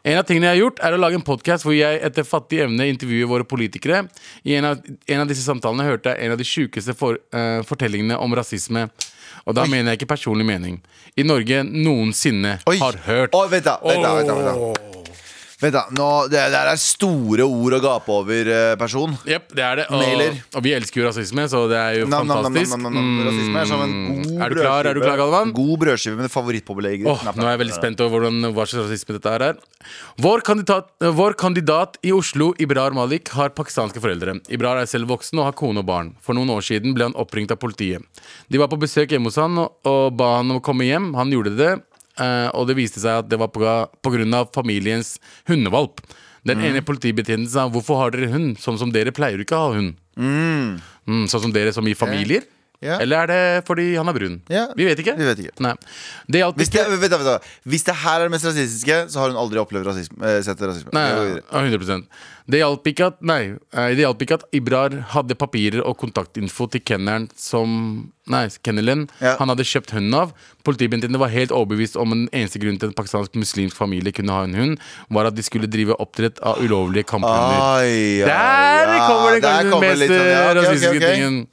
Speaker 3: En av tingene jeg har gjort, er å lage en podkast hvor jeg etter fattig evne intervjuer våre politikere. I en av, en av disse samtalene hørte jeg en av de sjukeste for, eh, fortellingene om rasisme. Og da mener jeg ikke personlig mening. I Norge noensinne
Speaker 2: Oi.
Speaker 3: har hørt.
Speaker 2: Å, vent da, vent da, vent da, vent Vent da, nå, det, det her er store ord å gape over, eh, person.
Speaker 3: Jep, det er det. Og,
Speaker 2: Mailer.
Speaker 3: og vi elsker jo rasisme, så det er jo
Speaker 2: Nam, nam, nam,
Speaker 3: fantastisk. Mm.
Speaker 2: nam, nam, nam. Rasisme er som en god
Speaker 3: Er du klar? Er du klar, Galvan?
Speaker 2: God brødskive med favorittpåbelegg.
Speaker 3: Åh, nå er jeg veldig spent over hvordan, hva slags rasisme dette her er. Vår kandidat, eh, vår kandidat i Oslo, Ibrar Malik, har pakistanske foreldre. Ibrar er selv voksen og har kone og barn. For noen år siden ble han oppringt av politiet. De var på besøk hjemme hos han og, og ba han om å komme hjem. Han gjorde det, eh, og det viste seg at det var på, ga- på grunn av familiens hundevalp. Den
Speaker 2: Mm.
Speaker 3: ene politibetjenten sa 'Hvorfor har dere hund? Sånn som dere pleier jo ikke å ha hund'. Mm, sånn som dere som i familier?
Speaker 2: Ja.
Speaker 3: Eller er det fordi han er brun?
Speaker 2: Ja,
Speaker 3: Vi vet ikke.
Speaker 2: vi vet ikke.
Speaker 3: Nei. Det hjalp
Speaker 2: Hvis
Speaker 3: ikke.
Speaker 2: det, vent da, vent da. Hvis det her er det mest rasistiske, så har hun aldri opplevd rasisme. eh, sett rasisme.
Speaker 3: Nei,
Speaker 2: Det går
Speaker 3: ja,
Speaker 2: videre.
Speaker 3: ja, 100 Det hjalp ikke at Nei, eh, det hjalp ikke at Ibrar hadde papirer og kontaktinfo til kennelen som Nei, kennelen
Speaker 2: Ja.
Speaker 3: han hadde kjøpt hunden av. Politibetjentene var helt overbevist om en eneste grunn til at en pakistansk muslimsk familie kunne ha en hund, var at de skulle drive oppdrett av ulovlige kamphunder.
Speaker 2: Ai, ai,
Speaker 3: Der
Speaker 2: ja,
Speaker 3: kommer det
Speaker 2: der
Speaker 3: kanskje den
Speaker 2: kommer
Speaker 3: mest
Speaker 2: litt sånn, ja, ok, ok,
Speaker 3: rasistiske
Speaker 2: ok.
Speaker 3: tingen.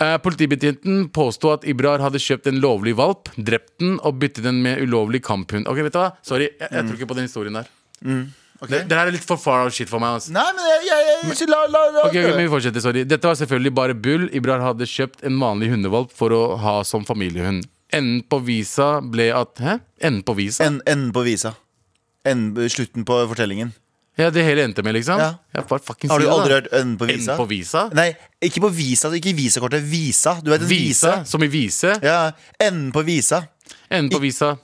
Speaker 3: Eh, politibetjenten påsto at Ibrar hadde kjøpt en lovlig valp, drept den og byttet den med ulovlig kamphund. Ok, vet du hva? Sorry, jeg, jeg tror ikke på den historien der.
Speaker 2: Mm, Ok.
Speaker 3: Det, det her er litt for far out shit for meg. Altså.
Speaker 2: Nei, men jeg, jeg, jeg, så la, la, la.
Speaker 3: Ok, ok, men vi fortsetter, sorry Dette var selvfølgelig bare bull. Ibrar hadde kjøpt en vanlig hundevalp for å ha som familiehund. Enden på visa ble at Hæ? Enden på visa?
Speaker 2: En- Enden på visa. Enden- slutten på fortellingen.
Speaker 3: Ja, Det hele endte med, liksom?
Speaker 2: Ja.
Speaker 3: Ja, bare fucking
Speaker 2: Har
Speaker 3: si
Speaker 2: du
Speaker 3: det, da.
Speaker 2: aldri hørt enden på visa?
Speaker 3: Enden på visa?
Speaker 2: Nei, ikke på visa, ikke visakortet. Visa. Du vet en
Speaker 3: Visa,
Speaker 2: visa?
Speaker 3: som i vise.
Speaker 2: Ja, enden på visa.
Speaker 3: Enden på visa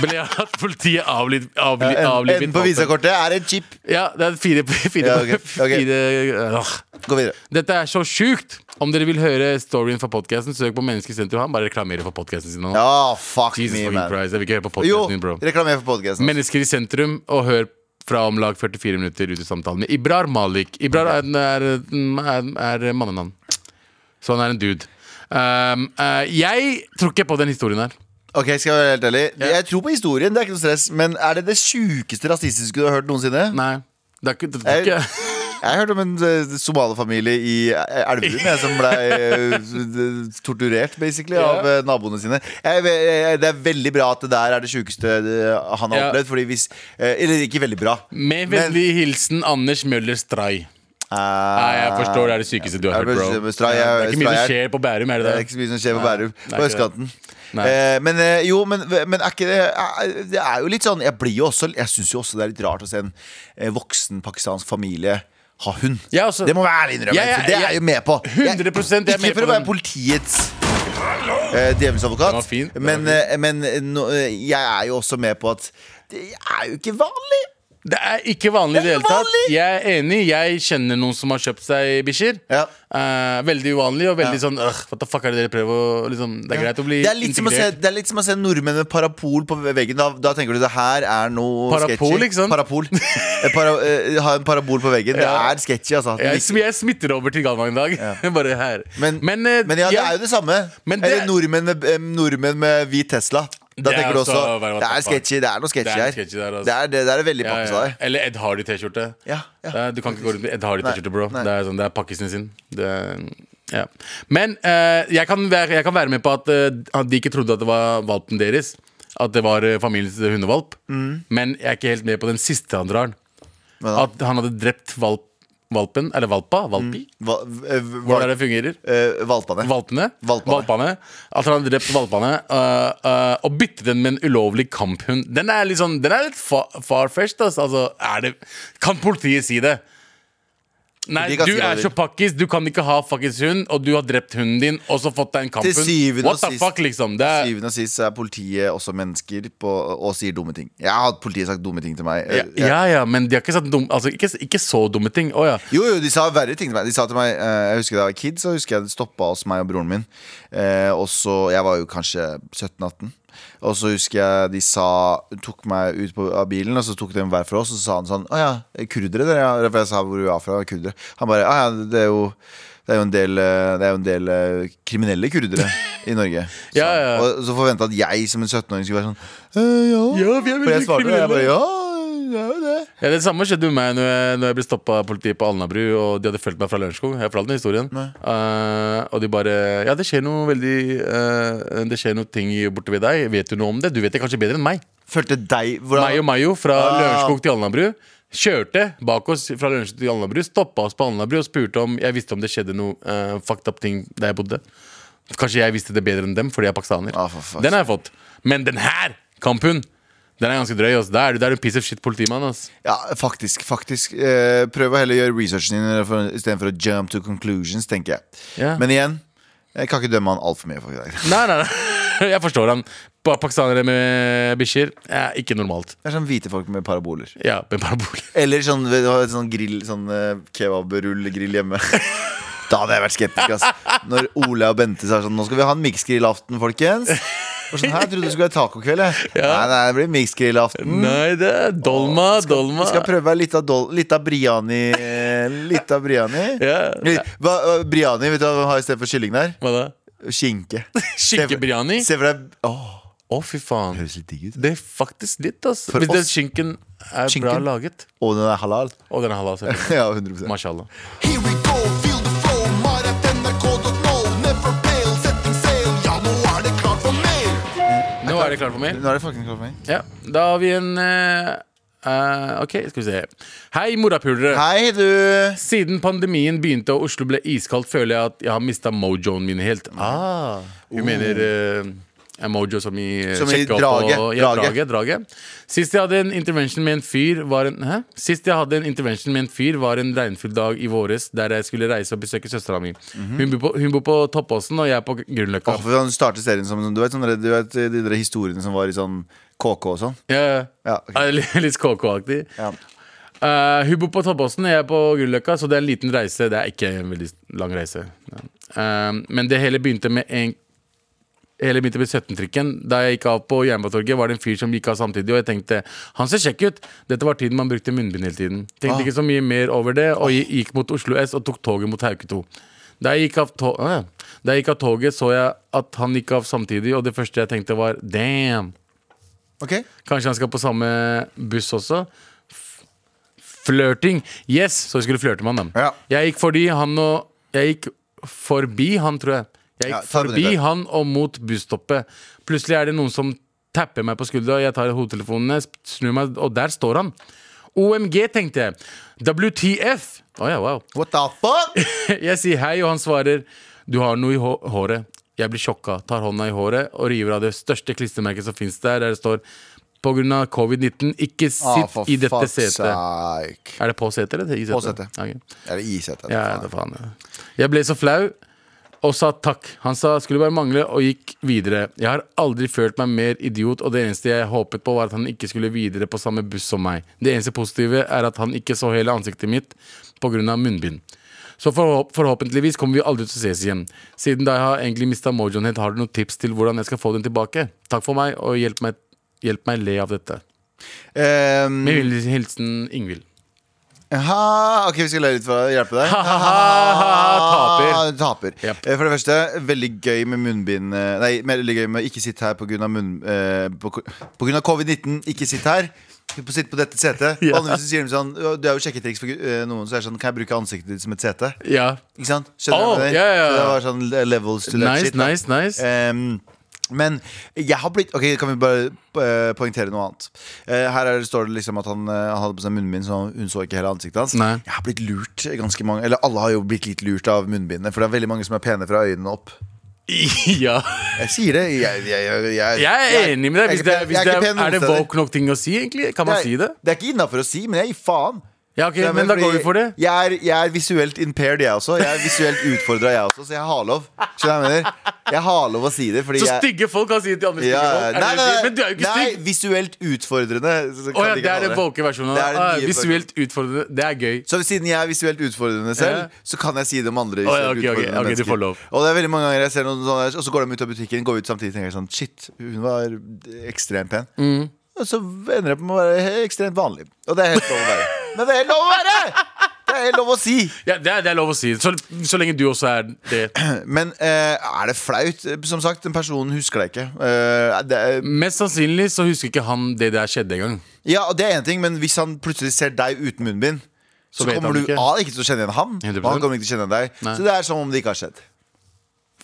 Speaker 3: ble at politiet avliv, avli,
Speaker 2: Eh, En,
Speaker 3: avlivet
Speaker 2: enden på
Speaker 3: valpen.
Speaker 2: visakortet er en chip.
Speaker 3: Ja, det er fire, fire,
Speaker 2: Ja, ok, ok.
Speaker 3: fire åh.
Speaker 2: Gå videre.
Speaker 3: Dette er så sjukt! Om dere vil høre storyen fra podkasten, søk på Menneskesentrum. Han bare reklamerer for podkasten sin nå.
Speaker 2: Ja, fuck
Speaker 3: Jesus
Speaker 2: me,
Speaker 3: fucking
Speaker 2: man.
Speaker 3: Christ, jeg vil ikke høre på
Speaker 2: Jo,
Speaker 3: podcasten din, bro.
Speaker 2: reklamer for podkasten.
Speaker 3: Mennesker i sentrum, og hør fra om lag 44 minutter ut i samtalen med Ibrar Malik. Ibrar er, er, er, er mannenavn. Så han er en dude. Um, eh, jeg tror ikke på den historien her.
Speaker 2: Ok, skal jeg være helt ærlig Jeg tror på historien, det er ikke noe stress. Men er det det sjukeste rasistiske du har hørt noensinne?
Speaker 3: Nei. Det er ikke, det er
Speaker 2: Jeg,
Speaker 3: ikke.
Speaker 2: jeg har hørt om en eh, somaliefamilie i eh, Elverum jeg, som ble eh, [LAUGHS] d- torturert basically
Speaker 3: Ja.
Speaker 2: av eh, naboene sine. Jeg, ve- jeg, det er veldig bra at det der er det sjukeste eh, han har
Speaker 3: Ja.
Speaker 2: opplevd. Fordi hvis, eh, eller ikke veldig bra.
Speaker 3: Med vennlig hilsen Anders Møller Stray. Nei, jeg forstår det er det sykeste du har
Speaker 2: Jeg
Speaker 3: hørt, bro.
Speaker 2: forstår, Eh, men Stray er-
Speaker 3: det er ikke mye
Speaker 2: Stray
Speaker 3: som
Speaker 2: er-
Speaker 3: skjer på Bærum, er
Speaker 2: Det
Speaker 3: det
Speaker 2: er
Speaker 3: det?
Speaker 2: ikke så mye som skjer på Bærum.
Speaker 3: det er
Speaker 2: På
Speaker 3: ikke det.
Speaker 2: østkanten.
Speaker 3: Nei.
Speaker 2: Eh, men eh, jo, men, men er ikke det er- Det er jo litt sånn Jeg blir jo også Jeg syns jo også det er litt rart å se en eh, voksen pakistansk familie ha hund.
Speaker 3: Ja, altså-
Speaker 2: det må være ærlig innrømme.
Speaker 3: Ja, ja,
Speaker 2: for det er
Speaker 3: ja.
Speaker 2: jeg jo med på.
Speaker 3: 100% jeg er
Speaker 2: ikke
Speaker 3: med
Speaker 2: for å
Speaker 3: på
Speaker 2: være
Speaker 3: den.
Speaker 2: politiets eh, djevelens
Speaker 3: Den var
Speaker 2: advokat,
Speaker 3: fin, den var
Speaker 2: men, eh, men eh, nå, eh, jeg er jo også med på at det er jo ikke vanlig.
Speaker 3: Det er ikke vanlig i det
Speaker 2: Det er
Speaker 3: hele tatt.
Speaker 2: vanlig!
Speaker 3: Jeg er enig. Jeg kjenner noen som har kjøpt seg bikkjer.
Speaker 2: Ja.
Speaker 3: Eh, veldig uvanlig og veldig
Speaker 2: Ja.
Speaker 3: sånn «Åh, What the fuck er det dere prøver å liksom, Det er greit å bli
Speaker 2: Det er litt som å se,
Speaker 3: integrert.
Speaker 2: det er litt som å se nordmenn med parapol på veggen. Da, da tenker du det her er noe
Speaker 3: Parapol,
Speaker 2: sketchy.
Speaker 3: ikke sant?
Speaker 2: Parapol. Eh, Para, eh, ha en parabol på veggen.
Speaker 3: Ja.
Speaker 2: Det er sketchy, altså.
Speaker 3: Jeg, sm- jeg smitter over til Galvan i dag. [LAUGHS] Bare her.
Speaker 2: Men, men,
Speaker 3: eh,
Speaker 2: ja, det er jo det samme.
Speaker 3: Men det-
Speaker 2: Eller nordmenn med, eh, nordmenn med hvit Tesla. Da
Speaker 3: Det er
Speaker 2: tenker du også
Speaker 3: også bare,
Speaker 2: Det
Speaker 3: what the
Speaker 2: er
Speaker 3: fuck.
Speaker 2: sketchy. Det er noe sketchy
Speaker 3: Det er
Speaker 2: her.
Speaker 3: sketchy der, altså.
Speaker 2: Det er det, det er veldig
Speaker 3: ja,
Speaker 2: pakkis
Speaker 3: ja.
Speaker 2: av deg.
Speaker 3: Eller Ed Hardy-T-skjorte.
Speaker 2: Ja, ja.
Speaker 3: Det er- Du kan ikke gå rundt med Ed Hardy-T-skjorte, bro.
Speaker 2: Nei, nei.
Speaker 3: Det er, sånn, det er pakkisen sin. Det er, ja. Men eh, jeg, kan være, jeg kan være med på at, eh, at de ikke trodde at det var valpen deres. At det var eh, familiens hundevalp.
Speaker 2: Mm.
Speaker 3: Men jeg er ikke helt med på den siste han drar.
Speaker 2: da?
Speaker 3: At han hadde drept valp, valpen, eller valpa, valpi.
Speaker 2: Hva, eh, hva-
Speaker 3: Hvordan det fungerer.
Speaker 2: eh, Valpene.
Speaker 3: Valpene.
Speaker 2: Valpene.
Speaker 3: At han hadde drept valpene. øh, øh, og byttet den med en ulovlig kamphund. Den er litt, sånn, den er litt fa farfetched, ass. Altså, er det, kan politiet si det? Nei,
Speaker 2: De kan
Speaker 3: du
Speaker 2: si hva
Speaker 3: er
Speaker 2: de
Speaker 3: så pakkis, du kan ikke ha fuckings hund, og du har drept hunden din, og så fått deg en
Speaker 2: Til
Speaker 3: kamphund.
Speaker 2: syvende og
Speaker 3: What the
Speaker 2: sist,
Speaker 3: fuck, liksom? Det er,
Speaker 2: syvende og sist er politiet også mennesker på, og sier dumme ting. Jeg har hatt politiet sagt dumme ting til meg. eh,
Speaker 3: ja,
Speaker 2: Jeg-
Speaker 3: ja, ja, men de har ikke sagt dum, altså, ikke, ikke så dumme ting. Å ja.
Speaker 2: Jo, jo, de sa verre ting til meg. De sa til meg eh, Jeg husker da jeg var kid, så husker jeg det stoppa hos meg og broren min. Eh, og så, Jeg var jo kanskje 17-18. Og så husker jeg de sa tok meg ut på, av bilen, og så tok de hver for oss. Og så sa han sånn Å ja, kurdere, dere? Ja, Det var For jeg sa hvor vi var fra. Kurdere. Han bare Å ja, det er jo det er jo en del, eh, det er jo en del eh, kriminelle kurdere i Norge. Så,
Speaker 3: [LAUGHS] Ja, ja.
Speaker 2: Og så forventa at jeg som en 17-åring skulle være sånn «Eh, Ja,
Speaker 3: Ja, vi er
Speaker 2: For jeg
Speaker 3: veldig
Speaker 2: svarte, og jeg
Speaker 3: kriminelle.
Speaker 2: bare Ja, det er jo det.
Speaker 3: Ja, Det samme skjedde med meg når jeg, når jeg ble stoppa av politiet på Alnabru. Og de hadde fulgt meg fra Lørenskog. Jeg fortalte den historien. Eh, og de bare Ja, det skjer noe veldig eh, Det skjer noe ting borte ved deg. Vet du noe om det? Du vet det kanskje bedre enn meg.
Speaker 2: Følte deg hvordan-
Speaker 3: Meg og Mayo fra
Speaker 2: Ah.
Speaker 3: Lørenskog til Alnabru. Kjørte bak oss fra Lørenskog til Alnabru, stoppa oss på Alnabru og spurte om jeg visste om det skjedde noe eh, fucked up ting der jeg bodde. Kanskje jeg visste det bedre enn dem fordi jeg er pakistaner.
Speaker 2: Ah, for fuck's
Speaker 3: den har jeg fått. Men den her, kamphund, den er ganske drøy. ass. Da er du, da er du piece of shit politimann. altså. ass
Speaker 2: Ja, faktisk. faktisk eh, Prøv å heller gjøre researchen din for- istedenfor å jump to conclusions, tenker jeg.
Speaker 3: Ja.
Speaker 2: Men igjen, jeg kan ikke dømme han altfor mye. For det. [LAUGHS] det
Speaker 3: Nei, nei, nei. [LAUGHS] Jeg forstår han. Pa- Pakistanere med bikkjer er ikke normalt.
Speaker 2: er sånn hvite folk med paraboler.
Speaker 3: Ja, med parabol.
Speaker 2: Eller sånn, ved- du har et sånn, grill, sånn eh, kebabrull-grill hjemme. [LAUGHS] Da hadde jeg vært skeptisk. ass Når Ole og Bente sa sånn Nå skal vi ha en miksgrillaften, folkens. Og sånn, «Hæ, Jeg trodde det skulle være tacokveld.
Speaker 3: [LAUGHS]
Speaker 2: jeg». Nei, nei, det blir miksgrillaften.
Speaker 3: Nei, det er dolma, dolma.
Speaker 2: Vi Mm. skal prøve litt av, dol, litt av briani. eh, Litt av briani.
Speaker 3: Ja.
Speaker 2: Litt- Hva, hva- briani, vet du hva vi har i stedet for kylling der?
Speaker 3: Hva da? [LAUGHS]
Speaker 2: Skinke.
Speaker 3: Skinkebriani?
Speaker 2: Se for deg Åh,
Speaker 3: Å, fy faen.
Speaker 2: høres litt digg ut.
Speaker 3: Det er faktisk litt, ass.
Speaker 2: For
Speaker 3: Hvis den
Speaker 2: oss-
Speaker 3: skinken er
Speaker 2: Skinken?
Speaker 3: bra laget.
Speaker 2: Og den er halal. [LAUGHS]
Speaker 3: Og den er halal, selvfølgelig.
Speaker 2: Ja, 100
Speaker 3: Mashallah.
Speaker 5: Here we go, feel the flow, maratnrk.no, never fail, setting sail, ja nå er det klart for mer.
Speaker 3: Nå er det klart for mer.
Speaker 2: Nå er det fucking klart for meg.
Speaker 3: Ja, da har vi en eh, eh, OK, skal vi se. Hei, morapulere.
Speaker 2: Hei, du.
Speaker 3: Siden pandemien begynte og Oslo ble iskaldt, føler jeg at jeg har mista mojoen min helt. Ah, hun mener eh, er mojo som i eh,
Speaker 2: Oh. Som i
Speaker 3: sjekke opp
Speaker 2: draget,
Speaker 3: Og, ja,
Speaker 2: draget.
Speaker 3: draget, draget. Sist jeg hadde en intervention med en fyr, var en Hæ? Sist jeg hadde en intervention med en fyr, var en regnfull dag i våres der jeg skulle reise og besøke søstera mi. hun, bor på, hun bor på Toppåsen, og jeg er på
Speaker 2: Mhm.
Speaker 3: Grünerløkka.
Speaker 2: Åh, for han starter serien som sånn, Du vet, sånn, du vet de der historiene som var i sånn KK og sånn?
Speaker 3: Ja, ja.
Speaker 2: Ja, ok.
Speaker 3: Ah, litt- Litt KK-aktig.
Speaker 2: Ja.
Speaker 3: Eh, hun bor på Toppåsen, jeg er på Grünerløkka, så det er en liten reise. Det er ikke en veldig lang reise. Ja. Eh, men det hele begynte med en Hele begynte med 17-trikken. Da jeg gikk av på Jernbanetorget, var det en fyr som gikk av samtidig, og jeg tenkte han ser kjekk ut. Dette var tiden man brukte munnbind hele tiden.
Speaker 2: Ah.
Speaker 3: Tenkte ikke så mye mer over det, og jeg gikk mot Oslo S og tok toget mot Hauketo. Da jeg, gikk av to Å, ja. da jeg gikk av toget, så jeg at han gikk av samtidig, og det første jeg tenkte, var damn.
Speaker 2: Ok
Speaker 3: Kanskje han skal på samme buss også. F- Flørting. Yes! Så jeg skulle flørte med han, da.
Speaker 2: Ja.
Speaker 3: Jeg gikk fordi han og Jeg gikk forbi han, tror jeg. Jeg
Speaker 2: Ja,
Speaker 3: gikk
Speaker 2: ta det
Speaker 3: forbi
Speaker 2: ned.
Speaker 3: han og mot busstoppet. Plutselig er det noen som tapper meg på skuldra, jeg tar hodetelefonene, sp- snur meg, og der står han. OMG, tenkte jeg. WTF! Å ja, wow. [LAUGHS]
Speaker 2: What the fuck?
Speaker 3: Jeg sier hei, og han svarer du har noe i hå- håret. Jeg blir sjokka, tar hånda i håret og river av det største klistremerket som fins der, der det står på grunn av covid-19, ikke sitt
Speaker 2: Ah, for
Speaker 3: i dette
Speaker 2: fuck's
Speaker 3: setet.
Speaker 2: sake.
Speaker 3: Er det på setet eller i setet?
Speaker 2: På setet.
Speaker 3: Ja, ok.
Speaker 2: Er det i setet?
Speaker 3: Ja, det faen ja. Jeg ble så flau og sa takk. Han sa skulle bare mangle og gikk videre. Jeg har aldri følt meg mer idiot, og det eneste jeg håpet på, var at han ikke skulle videre på samme buss som meg. Det eneste positive er at han ikke så hele ansiktet mitt pga. munnbind. Så forhåp forhåpentligvis kommer vi aldri til å ses igjen. Siden da jeg har egentlig mista mojoen helt, har du noen tips til hvordan jeg skal få den tilbake? Takk for meg, og hjelp meg, hjelp meg le av dette.
Speaker 2: Ehm,
Speaker 3: Med vennlig hilsen Ingvild.
Speaker 2: Ha, ok, vi skal le litt for å hjelpe deg. Ah,
Speaker 3: Taper.
Speaker 2: Du taper.
Speaker 3: Yep.
Speaker 2: Eh, For det første, veldig gøy med munnbind eh, Nei, veldig gøy med å ikke sitte her pga. munn... eh, på ko- på grunn av covid-19, ikke sitt her. På- Sitt på dette setet.
Speaker 3: [LAUGHS] Ja.
Speaker 2: Og andre så sier de sånn «Å, Det er jo sjekketriks for gu- eh, noen, så er det sånn Kan jeg bruke ansiktet ditt som et sete?
Speaker 3: Ja.
Speaker 2: Ikke sant? Skjønner du
Speaker 3: Oh,
Speaker 2: hva jeg mener?
Speaker 3: ja, ja, ja.
Speaker 2: Så Det var sånn le- levels to that
Speaker 3: Nice,
Speaker 2: shit. da.
Speaker 3: nice, nice.
Speaker 2: Ehm, men jeg har blitt Ok, kan vi bare eh, poengtere noe annet? Eh, her er, det- står det liksom at han, eh, han hadde på seg munnbind, så hun så ikke hele ansiktet hans.
Speaker 3: Nei.
Speaker 2: Jeg har blitt lurt ganske mange Eller alle har jo blitt litt lurt av munnbindene, for det er veldig mange som er pene fra øynene opp. [LAUGHS]
Speaker 3: ja.
Speaker 2: Jeg sier det. Jeg, jeg, jeg, jeg,
Speaker 3: Jeg er enig med deg.
Speaker 2: jeg
Speaker 3: Hvis det,
Speaker 2: ikke pen-
Speaker 3: hvis
Speaker 2: jeg
Speaker 3: det,
Speaker 2: ikke
Speaker 3: er,
Speaker 2: pen noen
Speaker 3: er det
Speaker 2: steder.
Speaker 3: woke nok ting å si, egentlig? Kan man
Speaker 2: Jeg-
Speaker 3: si det?
Speaker 2: Det er ikke innafor å si, men jeg gir faen.
Speaker 3: Ja, ok,
Speaker 2: Det er
Speaker 3: men da
Speaker 2: fordi
Speaker 3: går vi for det.
Speaker 2: Jeg er, jeg er visuelt impaired, jeg også. Jeg er visuelt utfordra, jeg også, så jeg har lov. Skjønner du hva jeg mener? Jeg har lov å si det, fordi
Speaker 3: Så
Speaker 2: jeg
Speaker 3: stygge folk kan si det til andre
Speaker 2: ja,
Speaker 3: stygge folk.
Speaker 2: ja.
Speaker 3: Er det
Speaker 2: nei,
Speaker 3: det
Speaker 2: nei,
Speaker 3: du sier?
Speaker 2: nei,
Speaker 3: men du er jo ikke
Speaker 2: nei,
Speaker 3: stygg.
Speaker 2: visuelt utfordrende. Så,
Speaker 3: Å
Speaker 2: kan
Speaker 3: ja,
Speaker 2: de
Speaker 3: det
Speaker 2: kalle
Speaker 3: er den woke versjonen.
Speaker 2: Det er den
Speaker 3: Ah,
Speaker 2: nye
Speaker 3: visuelt utfordrende. Det er gøy.
Speaker 2: Så siden jeg er visuelt utfordrende selv,
Speaker 3: Ja.
Speaker 2: så kan jeg si det om andre.
Speaker 3: Å,
Speaker 2: visuelt
Speaker 3: ja, ok, ok,
Speaker 2: utfordrende
Speaker 3: ok, du
Speaker 2: mennesker.
Speaker 3: får lov.
Speaker 2: Og det er veldig mange ganger jeg ser noen sånne der, Og så går de ut av butikken, går ut samtidig og tenker sånn Shit, hun var ekstremt pen.
Speaker 3: Mm.
Speaker 2: Og så ender det på med å være he- ekstremt vanlig. Og det er helt lov å være. Men det er helt lov å være! Det er helt lov å si.
Speaker 3: Ja, det, er, det er lov å si. Så, så lenge du også er det.
Speaker 2: Men eh, er det flaut? Som sagt, den personen husker deg ikke. Eh, det er,
Speaker 3: Mest sannsynlig så husker ikke han det der skjedde engang.
Speaker 2: Ja, og det er en ting, men hvis han plutselig ser deg uten munnbind, så,
Speaker 3: vet
Speaker 2: kommer
Speaker 3: han
Speaker 2: du
Speaker 3: ikke.
Speaker 2: A, ikke til å kjenne igjen ham, og
Speaker 3: 100%.
Speaker 2: han kommer ikke til å kjenne igjen deg.
Speaker 3: Nei.
Speaker 2: Så det er som om det ikke har skjedd.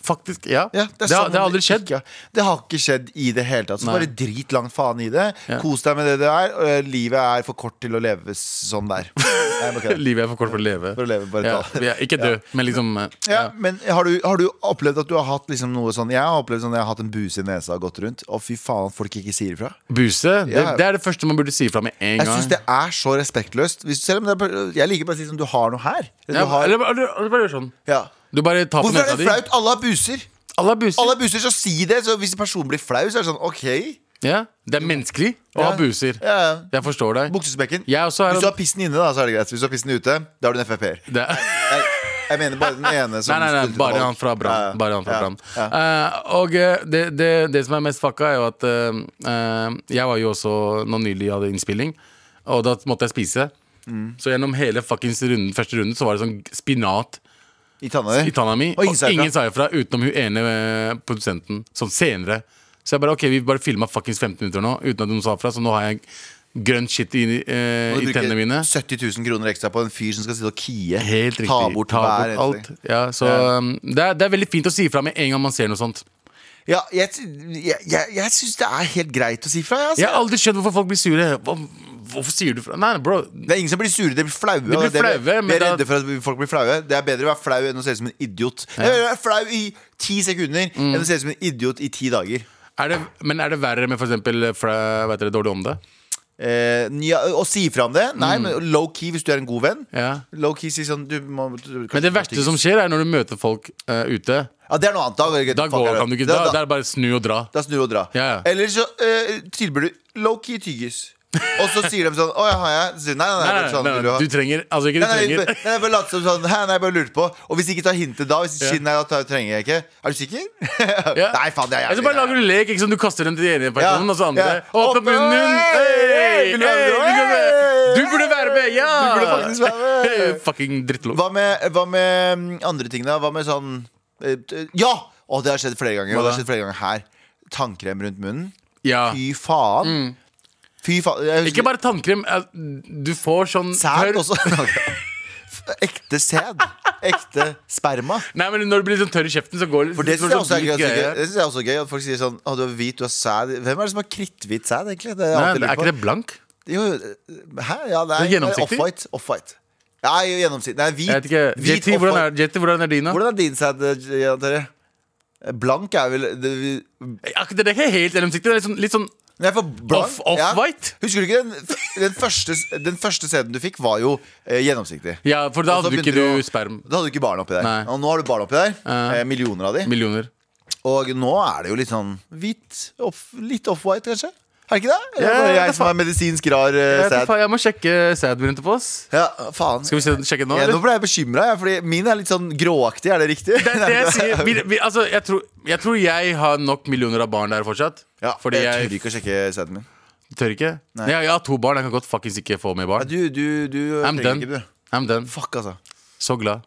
Speaker 3: Faktisk, ja.
Speaker 2: Ja,
Speaker 3: det,
Speaker 2: er som
Speaker 3: har,
Speaker 2: om
Speaker 3: det har aldri skjedd.
Speaker 2: ikke har- det har ikke skjedd i det hele tatt. Så
Speaker 3: Nei.
Speaker 2: bare drit langt faen i det.
Speaker 3: Ja.
Speaker 2: Kos deg med det det er. og, eh, Livet er for kort til å leves sånn
Speaker 3: [LAUGHS]
Speaker 2: der. Nei, jeg bare kødder.
Speaker 3: Livet er for kort for å leve.
Speaker 2: For å leve, bare
Speaker 3: ja,
Speaker 2: ta det.
Speaker 3: ja, ikke dø, men liksom eh,
Speaker 2: Ja, men har du, har du opplevd at du har hatt liksom noe sånn Jeg har opplevd sånn, jeg har hatt en buse i nesa og gått rundt, og fy faen, folk ikke sier ifra.
Speaker 3: Buse. Det,
Speaker 2: Ja.
Speaker 3: det er det første man burde si fra med en
Speaker 2: Jeg
Speaker 3: gang.
Speaker 2: syns det er så respektløst. Hvis, selv om det er, jeg liker bare å si sånn, du har noe her. Eller,
Speaker 3: Ja,
Speaker 2: du har,
Speaker 3: eller, bare- eller bare gjør sånn.
Speaker 2: ja.
Speaker 3: Du bare tar på
Speaker 2: Hvorfor er
Speaker 3: nesa
Speaker 2: det
Speaker 3: di.
Speaker 2: flaut? Alle har buser.
Speaker 3: Alle er buser.
Speaker 2: Alle buser, så si det. Så hvis personen blir flau, så er det sånn OK.
Speaker 3: Ja, det er menneskelig å ha
Speaker 2: Ja.
Speaker 3: buser.
Speaker 2: Ja, ja.
Speaker 3: Jeg forstår deg.
Speaker 2: Buksesprekken.
Speaker 3: Jeg også er
Speaker 2: Hvis du har pissen inne, da, så er det greit. Hvis du har pissen ute, da er du en Frp-er.
Speaker 3: Det er
Speaker 2: [LAUGHS] Jeg, jeg mener bare den ene som
Speaker 3: Nei, nei, nei,
Speaker 2: spilte
Speaker 3: bare
Speaker 2: valg.
Speaker 3: han fra
Speaker 2: Ja, ja.
Speaker 3: Brann. Bare han fra
Speaker 2: Ja,
Speaker 3: Brann.
Speaker 2: ja.
Speaker 3: Eh, og eh, det, det, det som er mest fucka, er jo at eh, eh, jeg var jo også nå nylig hadde innspilling, og da måtte jeg spise.
Speaker 2: Mm.
Speaker 3: Så gjennom hele fuckings runden, første runden så var det sånn spinat
Speaker 2: I tanna di?
Speaker 3: i tanna mi,
Speaker 2: Og
Speaker 3: og
Speaker 2: ingen sa ifra.
Speaker 3: ingen sa ifra utenom hun ene eh, produsenten. Sånn senere. Så jeg bare OK, vi bare filma fuckings 15 minutter nå uten at noen sa ifra, så nå har jeg grønt shit i, eh,
Speaker 2: Og du
Speaker 3: i
Speaker 2: bruker
Speaker 3: tennene mine.
Speaker 2: 70 000 kroner ekstra på en fyr som skal sitte og kie.
Speaker 3: Helt riktig.
Speaker 2: Ta bort, hver eneste
Speaker 3: alt.
Speaker 2: ting.
Speaker 3: Ja, så,
Speaker 2: Ja.
Speaker 3: um, det, er, det er veldig fint å si ifra med en gang man ser noe sånt.
Speaker 2: Ja, jeg, jeg, jeg, jeg syns det er helt greit å si fra. jeg,
Speaker 3: Jeg har
Speaker 2: Altså.
Speaker 3: aldri skjønt hvorfor folk blir sure. Hva, hvorfor sier du fra? Nei, bro.
Speaker 2: Det er ingen som blir sure, de blir flaue. og
Speaker 3: blir
Speaker 2: det-
Speaker 3: flaue, men
Speaker 2: vi er
Speaker 3: da-
Speaker 2: redde for at folk blir flaue. Det er bedre å være flau enn å se ut som en idiot. Det er bedre å være flau i ti sekunder
Speaker 3: Mm.
Speaker 2: enn å se ut som en idiot i ti dager.
Speaker 3: Er det, men er det verre med for eksempel eh, fra- vet dere, dårlig om det?
Speaker 2: Eh, ja, og si fra om det. Nei, men low key hvis du er en god venn.
Speaker 3: Mm. Ja.
Speaker 2: Low key si sånn du må, du,
Speaker 3: Men det verste som skjer, er når du møter folk eh, ute.
Speaker 2: Ja, det er noe annet. Da, går det ikke-
Speaker 3: Da
Speaker 2: fuck
Speaker 3: går,
Speaker 2: er
Speaker 3: kan du ikke
Speaker 2: Da,
Speaker 3: da, Det
Speaker 2: da,
Speaker 3: er bare snu og dra.
Speaker 2: da snur du og drar.
Speaker 3: Ja, ja.
Speaker 2: Eller så eh, tilbyr du low key tyggis. Og så sier de sånn Å ja, har jeg? Så sier de, nei, nei,
Speaker 3: Nei,
Speaker 2: nei.
Speaker 3: nei, nei,
Speaker 2: vil du
Speaker 3: nei,
Speaker 2: ha?
Speaker 3: du trenger Altså, ikke du
Speaker 2: Nei, nei, jeg
Speaker 3: trenger
Speaker 2: bare- nei, jeg bare later som sånn Hæ, nei, jeg bare lurte på. Og hvis ikke tar hintet da, hvis
Speaker 3: Ja.
Speaker 2: ikke, nei, da tar- trenger jeg ikke. Er du sikker?
Speaker 3: [LAUGHS] Ja.
Speaker 2: Nei, faen, det er
Speaker 3: Altså,
Speaker 2: jævlig.
Speaker 3: bare lager du lek, ikke sant? Du kaster den til den ene personen,
Speaker 2: Ja,
Speaker 3: og så andre.
Speaker 2: ja.
Speaker 3: Åpne
Speaker 2: Åpne-
Speaker 3: munnen!
Speaker 2: Hei,
Speaker 3: Hey,
Speaker 2: vil du være med?
Speaker 3: du, kan være- du burde være med! Ja!
Speaker 2: Du burde faktisk være med.
Speaker 3: Fucking drittlort.
Speaker 2: Hva med, hva med mm, andre ting, da? Hva med sånn eh, t- Ja! Å, det har skjedd flere ganger. Og det
Speaker 3: Hva da?
Speaker 2: har skjedd flere ganger her. Tannkrem rundt munnen.
Speaker 3: Ja.
Speaker 2: Fy faen. Fy faen. Jeg husker-
Speaker 3: Ikke bare tannkrem. eh, Du får sånn
Speaker 2: sæd
Speaker 3: tørr-
Speaker 2: også. [LAUGHS] Ok. Ekte sæd. Ekte sperma.
Speaker 3: Nei, men Når du blir sånn tørr i kjeften, så går
Speaker 2: For det
Speaker 3: så
Speaker 2: syns jeg, også
Speaker 3: går
Speaker 2: er
Speaker 3: sånn
Speaker 2: gøy-
Speaker 3: hvit greie.
Speaker 2: det synes jeg er også gøy. At folk sier sånn Å, du er hvit, du har sæd. Hvem er det som har kritthvit sæd, egentlig? Det er,
Speaker 3: Nei, er ikke det blank?
Speaker 2: Jo, eh, hæ? Ja, nei,
Speaker 3: Det er gjennomsiktig.
Speaker 2: Off-white. Off-white. Nei, gjennomsiktig. Nei, hvit.
Speaker 3: Jeg vet ikke.
Speaker 2: hvit
Speaker 3: Jetty, hvordan,
Speaker 2: off-white.
Speaker 3: er- Jetty, hvordan er dina?
Speaker 2: Hvordan er din sæd, eh, Jan Terje? Blank er vel det, vi,
Speaker 3: Ja, det er ikke helt gjennomsiktig. Det er litt sånn, litt sånn
Speaker 2: Nei, for blank
Speaker 3: Off- off-white?
Speaker 2: Husker du ikke den, den, første, den første CD-en du fikk, var jo eh, gjennomsiktig.
Speaker 3: Ja, for da
Speaker 2: Og så
Speaker 3: hadde du ikke
Speaker 2: begynte
Speaker 3: du
Speaker 2: å-
Speaker 3: sperm.
Speaker 2: Da hadde du ikke barn oppi der.
Speaker 3: Nei.
Speaker 2: Og nå har du barn oppi der.
Speaker 3: Ja.
Speaker 2: eh, millioner av de.
Speaker 3: Millioner.
Speaker 2: Og nå er det jo litt sånn hvit, off, litt off-white, kanskje? Er det ikke det? Eller er det
Speaker 3: Ja,
Speaker 2: bare
Speaker 3: det er
Speaker 2: jeg som er medisinsk rar eh,
Speaker 3: Jeg, vet,
Speaker 2: sad?
Speaker 3: faen, jeg må sjekke sædbyen etterpå. ass.
Speaker 2: Ja, faen.
Speaker 3: Skal vi se- sjekke nå?
Speaker 2: Ja,
Speaker 3: eller?
Speaker 2: nå ble jeg bekymra, fordi min er litt sånn gråaktig. Er det riktig?
Speaker 3: Det er det jeg sier. Vi, vi, altså, jeg, tror, jeg tror jeg har nok millioner av barn der fortsatt.
Speaker 2: [LAUGHS] Ja,
Speaker 3: fordi
Speaker 2: jeg tør
Speaker 3: jeg
Speaker 2: ikke å sjekke sæden min.
Speaker 3: tør ikke. Nei. Jeg, har to barn. Jeg kan godt fuckings ikke få mer
Speaker 2: Ja,
Speaker 3: barn.
Speaker 2: du, du, du
Speaker 3: I'm
Speaker 2: trenger
Speaker 3: done.
Speaker 2: ikke, du.
Speaker 3: I'm done.
Speaker 2: Fuck, altså.
Speaker 3: Så glad.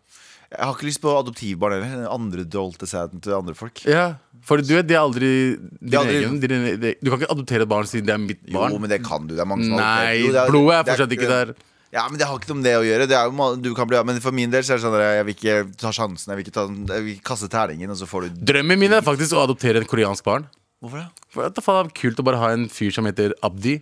Speaker 2: Jeg har ikke lyst på adoptivbarn heller. Den andre dolte sæden til andre folk.
Speaker 3: Ja, for du vet, det er aldri din
Speaker 2: er aldri-
Speaker 3: egen din, det- Du kan ikke adoptere et barn siden det er mitt barn.
Speaker 2: Jo, men det kan du. Det er mange som har
Speaker 3: Nei,
Speaker 2: adoptert. Jo, det er-
Speaker 3: blodet er
Speaker 2: det
Speaker 3: fortsatt ikke der.
Speaker 2: Ja, men Det har ikke noe med det å gjøre. Det er jo, ma- du kan bli, men for min del så er det sånn at jeg vil ikke ta sjansen. Jeg vil ikke, ta, den- jeg vil ikke kaste terningen, og så får du
Speaker 3: Drømmen min er faktisk å adoptere et koreansk barn.
Speaker 2: Hvorfor det?
Speaker 3: For at det faen er kult å bare ha en fyr som heter Abdi.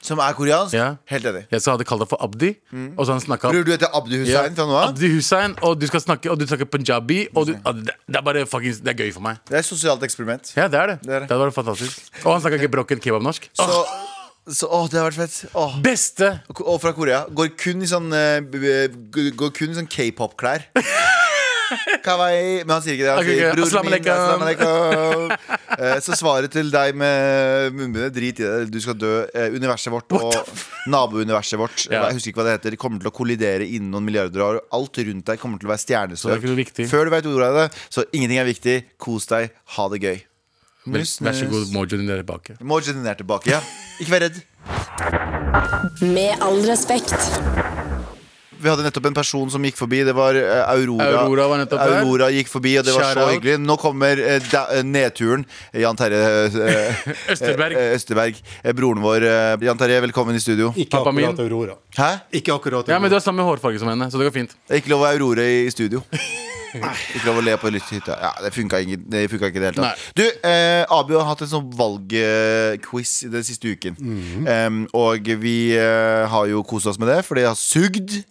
Speaker 2: Som er koreansk?
Speaker 3: Ja.
Speaker 2: Helt enig.
Speaker 3: Jeg så hadde kalt deg for Abdi, og så han snakka
Speaker 2: Mm. Bror, du heter Abdi Hussein fra nå av?
Speaker 3: Abdi Hussein, og du skal snakke Og du snakker punjabi. Og du, ah, det det er bare fuckings Det er gøy for meg.
Speaker 2: Det er et sosialt eksperiment.
Speaker 3: Ja, det er det.
Speaker 2: Det er det.
Speaker 3: Det hadde vært fantastisk. Og han snakker ikke brokken kebabnorsk. Åh,
Speaker 2: Så, så Å, det har vært fett. Åh.
Speaker 3: Beste!
Speaker 2: Og og fra Korea. Går kun i sånn eh, b- b- Går kun i sånn k-pop-klær.
Speaker 3: [LAUGHS]
Speaker 2: Kawaii. Men han sier ikke det. Han
Speaker 3: Ok, ok.
Speaker 2: sier bror
Speaker 3: Assalamu
Speaker 2: min, assalamu alaikum. Eh, Så svaret til deg med munnbindet, drit i det. Du skal dø. Eh, Universet vårt og nabouniverset vårt,
Speaker 3: Ja.
Speaker 2: jeg husker ikke hva det heter, kommer til å kollidere innen noen milliarder år. Alt rundt deg kommer til å være
Speaker 3: Så det er
Speaker 2: stjernestrøk.
Speaker 3: ikke noe viktig.
Speaker 2: Før du veit ordet av det, så ingenting er viktig. Kos deg. Ha det gøy.
Speaker 3: Vel, Vær så god, Mojo, din der tilbake.
Speaker 2: Morgen er tilbake, ja. Ikke vær redd.
Speaker 4: Med all respekt.
Speaker 2: Vi hadde nettopp en person som gikk forbi. Det var eh, Aurora.
Speaker 3: Aurora var nettopp der.
Speaker 2: Aurora gikk forbi, og det var
Speaker 3: Shout
Speaker 2: så
Speaker 3: out.
Speaker 2: hyggelig. Nå kommer eh, da, eh, nedturen. Eh, Jan Terje
Speaker 3: [LAUGHS]
Speaker 2: eh,
Speaker 3: Østerberg.
Speaker 2: eh, Østerberg. Eh, broren vår. eh, Jan Terje, velkommen i studio.
Speaker 6: Ikke
Speaker 3: Pappa
Speaker 6: akkurat
Speaker 3: min.
Speaker 6: Aurora.
Speaker 2: Hæ?
Speaker 6: Ikke akkurat
Speaker 3: Ja, men Du har
Speaker 6: Aurora.
Speaker 3: samme hårfarge som henne, så det går fint.
Speaker 2: Det er ikke lov å ha Aurora i
Speaker 3: [LAUGHS]
Speaker 2: studio. Ikke lov å le på litt hytta. Ja, det funka ikke, det funka ikke i det hele tatt. Du, eh, Abu har hatt en sånn valgquiz i den siste uken.
Speaker 3: Mhm.
Speaker 2: Em, og vi eh, har jo kost oss med det, for det har sugd.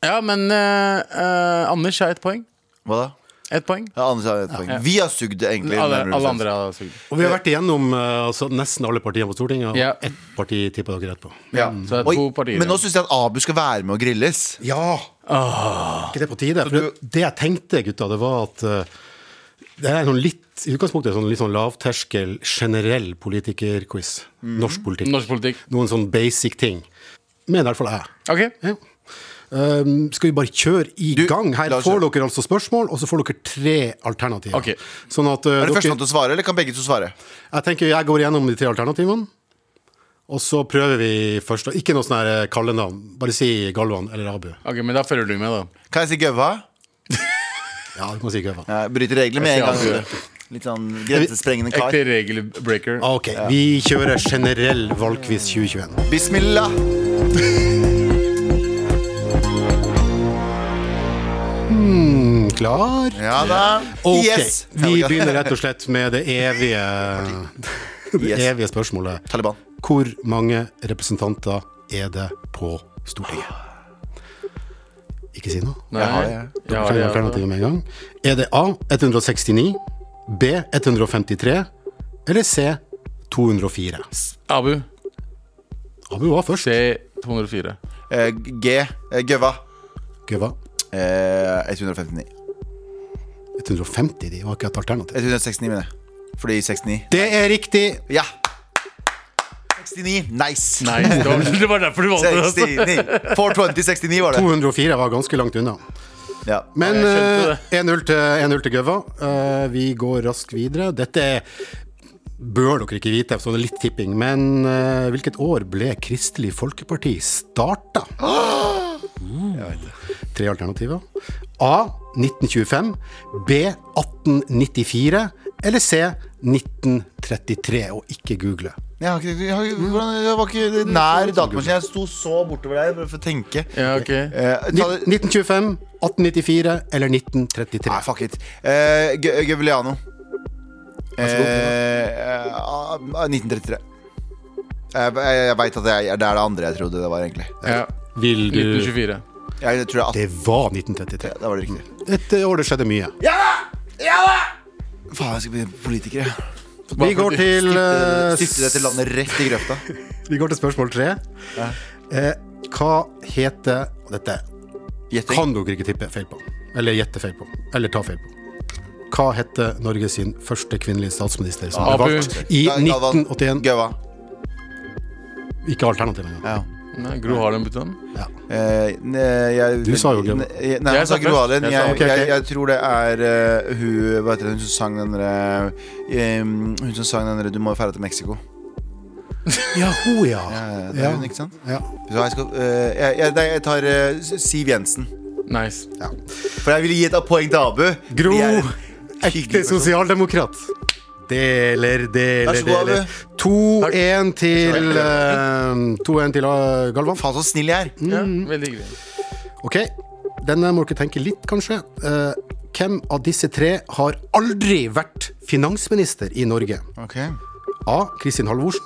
Speaker 3: Ja, men eh, eh, Anders har ett poeng.
Speaker 2: Hva da?
Speaker 3: Ett poeng.
Speaker 2: Ja, Anders har et poeng. Vi har sugd, det, egentlig.
Speaker 3: Alle,
Speaker 2: nærmere
Speaker 3: alle
Speaker 2: bestemt.
Speaker 3: andre har sugd.
Speaker 6: Og vi har vært igjennom eh, altså, nesten alle partiene på Stortinget, og
Speaker 3: Ja.
Speaker 6: ett parti tippa dere rett på.
Speaker 2: Ja.
Speaker 3: Mm. Så det er to
Speaker 2: Oi,
Speaker 3: partier.
Speaker 2: Men nå syns jeg at Abu skal være med og grilles.
Speaker 6: Ja! Ah. Ikke det på tide? For det, det jeg tenkte, gutta, det var at eh, det er sånn litt, i utgangspunktet sånn, litt sånn lavterskel, generell politikerquiz. Norsk politikk.
Speaker 3: Norsk politikk.
Speaker 6: Noen sånn basic ting. Mener i hvert fall jeg.
Speaker 3: Ok,
Speaker 6: Ja. Ehm, skal vi bare kjøre i gang? Her
Speaker 2: la oss
Speaker 6: får dere altså spørsmål, og så får dere tre alternativer.
Speaker 3: Ok.
Speaker 6: Sånn at eh,
Speaker 2: Er det
Speaker 6: dere,
Speaker 2: førstemann til å svare, eller kan begge to svare?
Speaker 6: Jeg tenker jeg går gjennom de tre alternativene, og så prøver vi først. og Ikke noe sånn her eh, kallenavn. Bare si Galvan eller Abu.
Speaker 3: ok, men da følger du med, da.
Speaker 2: Kan jeg si Gøva?
Speaker 6: Ja, du må si Galvan.
Speaker 2: Jeg bryter reglene med en
Speaker 3: Jeg sier
Speaker 2: gang. Litt sånn grensesprengende
Speaker 3: Ekte
Speaker 2: kar.
Speaker 3: regelbreaker.
Speaker 6: Ah, Ok, vi kjører generell valgquiz 2021.
Speaker 2: Bismillah.
Speaker 6: Mm, Klar?
Speaker 2: Ja da.
Speaker 6: Ok,
Speaker 2: Yes.
Speaker 6: vi begynner rett og slett med det evige, [LAUGHS] det
Speaker 2: Yes.
Speaker 6: evige spørsmålet.
Speaker 2: Taliban.
Speaker 6: Hvor mange representanter er det på Stortinget? Ikke si noe.
Speaker 3: Nei, jeg
Speaker 2: har det, jeg.
Speaker 3: Jeg har
Speaker 6: Trenger
Speaker 3: det, jeg har det.
Speaker 6: alternativet med en gang. Er det A 169, B 153 eller C 204?
Speaker 3: Abu,
Speaker 6: Abu var først.
Speaker 3: C204.
Speaker 2: Eh, G. eh, Gøva.
Speaker 6: Gøva.
Speaker 2: Eh, 159.
Speaker 6: 150 de var ikke et alternativ.
Speaker 2: 169, mener jeg. Fordi 69.
Speaker 6: Det er riktig!
Speaker 2: Ja. 69. Nice.
Speaker 3: Nei, [LAUGHS] det var, det var derfor du valgte det. altså.
Speaker 2: 69. 420, 69 var det.
Speaker 6: 204 var ganske langt unna.
Speaker 2: Ja.
Speaker 6: Men
Speaker 3: Ja, jeg skjønte
Speaker 6: eh, 1-0 til, 1-0 til Gøva. Eh, vi går raskt videre. Dette er bør dere ikke vite, så det er litt tipping. Men eh, hvilket år ble Kristelig Folkeparti starta? Tre alternativer. A. 1925. B. 1894. Eller C. 1933. Og ikke google.
Speaker 2: Jeg, har ikke, jeg, har, hvordan, jeg var ikke nær datamaskinen. Jeg sto så bortover der bare for å tenke.
Speaker 3: Ja, ok
Speaker 2: Eh,
Speaker 6: Ni-
Speaker 2: ta det-
Speaker 6: 1925, 1894 eller 1933.
Speaker 2: Nei, fuck it. Eh, Gø- Gøveliano.
Speaker 6: så god,
Speaker 2: Eh, ah, 1933. Jeg, jeg, jeg veit at jeg, det er det andre jeg trodde det var, egentlig.
Speaker 3: ja.
Speaker 6: Vil du
Speaker 3: 1924.
Speaker 2: Jeg tror det er 18.
Speaker 6: Det var 1933.
Speaker 2: Da var det riktig.
Speaker 6: Et år det skjedde mye.
Speaker 2: Faen, jeg skal bli politiker, jeg.
Speaker 6: Vi går til, eh,
Speaker 2: Stifte dette landet rett i grøfta.
Speaker 6: vi går til spørsmål tre. Eh, hva heter dette?
Speaker 2: Gjetting.
Speaker 6: Kan dere ikke tippe feil på? Eller gjette feil på? Eller ta feil på? Hva heter Norge sin første kvinnelige statsminister som
Speaker 3: Abu.
Speaker 6: ble valgt i
Speaker 2: Galvan
Speaker 6: 1981?
Speaker 2: Gaua.
Speaker 6: Ikke alternativ engang.
Speaker 2: Ja.
Speaker 3: Nei, Gro Harlem Brundtland.
Speaker 2: Eh, ne, jeg,
Speaker 6: Du sa jo Gro.
Speaker 2: ne- jeg- Nei,
Speaker 3: Jeg
Speaker 2: jeg
Speaker 3: sa
Speaker 2: sa Gro
Speaker 3: først.
Speaker 2: Harlem.
Speaker 3: Jeg
Speaker 2: Jeg,
Speaker 3: sa-
Speaker 2: jeg,
Speaker 6: ok, ok.
Speaker 2: jeg, tror det er eh, hun Hva heter det, hun som sang den derre Hun som sang den derre 'Du må ferde til Mexico'.
Speaker 6: Ja, hun, ja.
Speaker 2: Eh, det er
Speaker 6: ja.
Speaker 2: hun, ikke sant?
Speaker 6: ja.
Speaker 2: Så jeg, skal, eh, jeg, jeg, nei, jeg tar eh, Siv Jensen.
Speaker 3: Nice.
Speaker 2: For jeg ville gi et poeng til Abu.
Speaker 6: Gro,
Speaker 2: De er en hyggelig
Speaker 6: ekte
Speaker 2: person.
Speaker 6: sosialdemokrat. Deler,
Speaker 2: Vær
Speaker 6: deler,
Speaker 2: så god,
Speaker 6: deler.
Speaker 2: Abu.
Speaker 6: 2-1 til, eh, 2-1 til eh, Galvan.
Speaker 2: Faen, så snill jeg er.
Speaker 3: Ja, veldig hyggelig.
Speaker 6: Ok, denne må dere tenke litt, kanskje. Eh, hvem av disse tre har aldri vært finansminister i Norge? A. Kristin Halvorsen.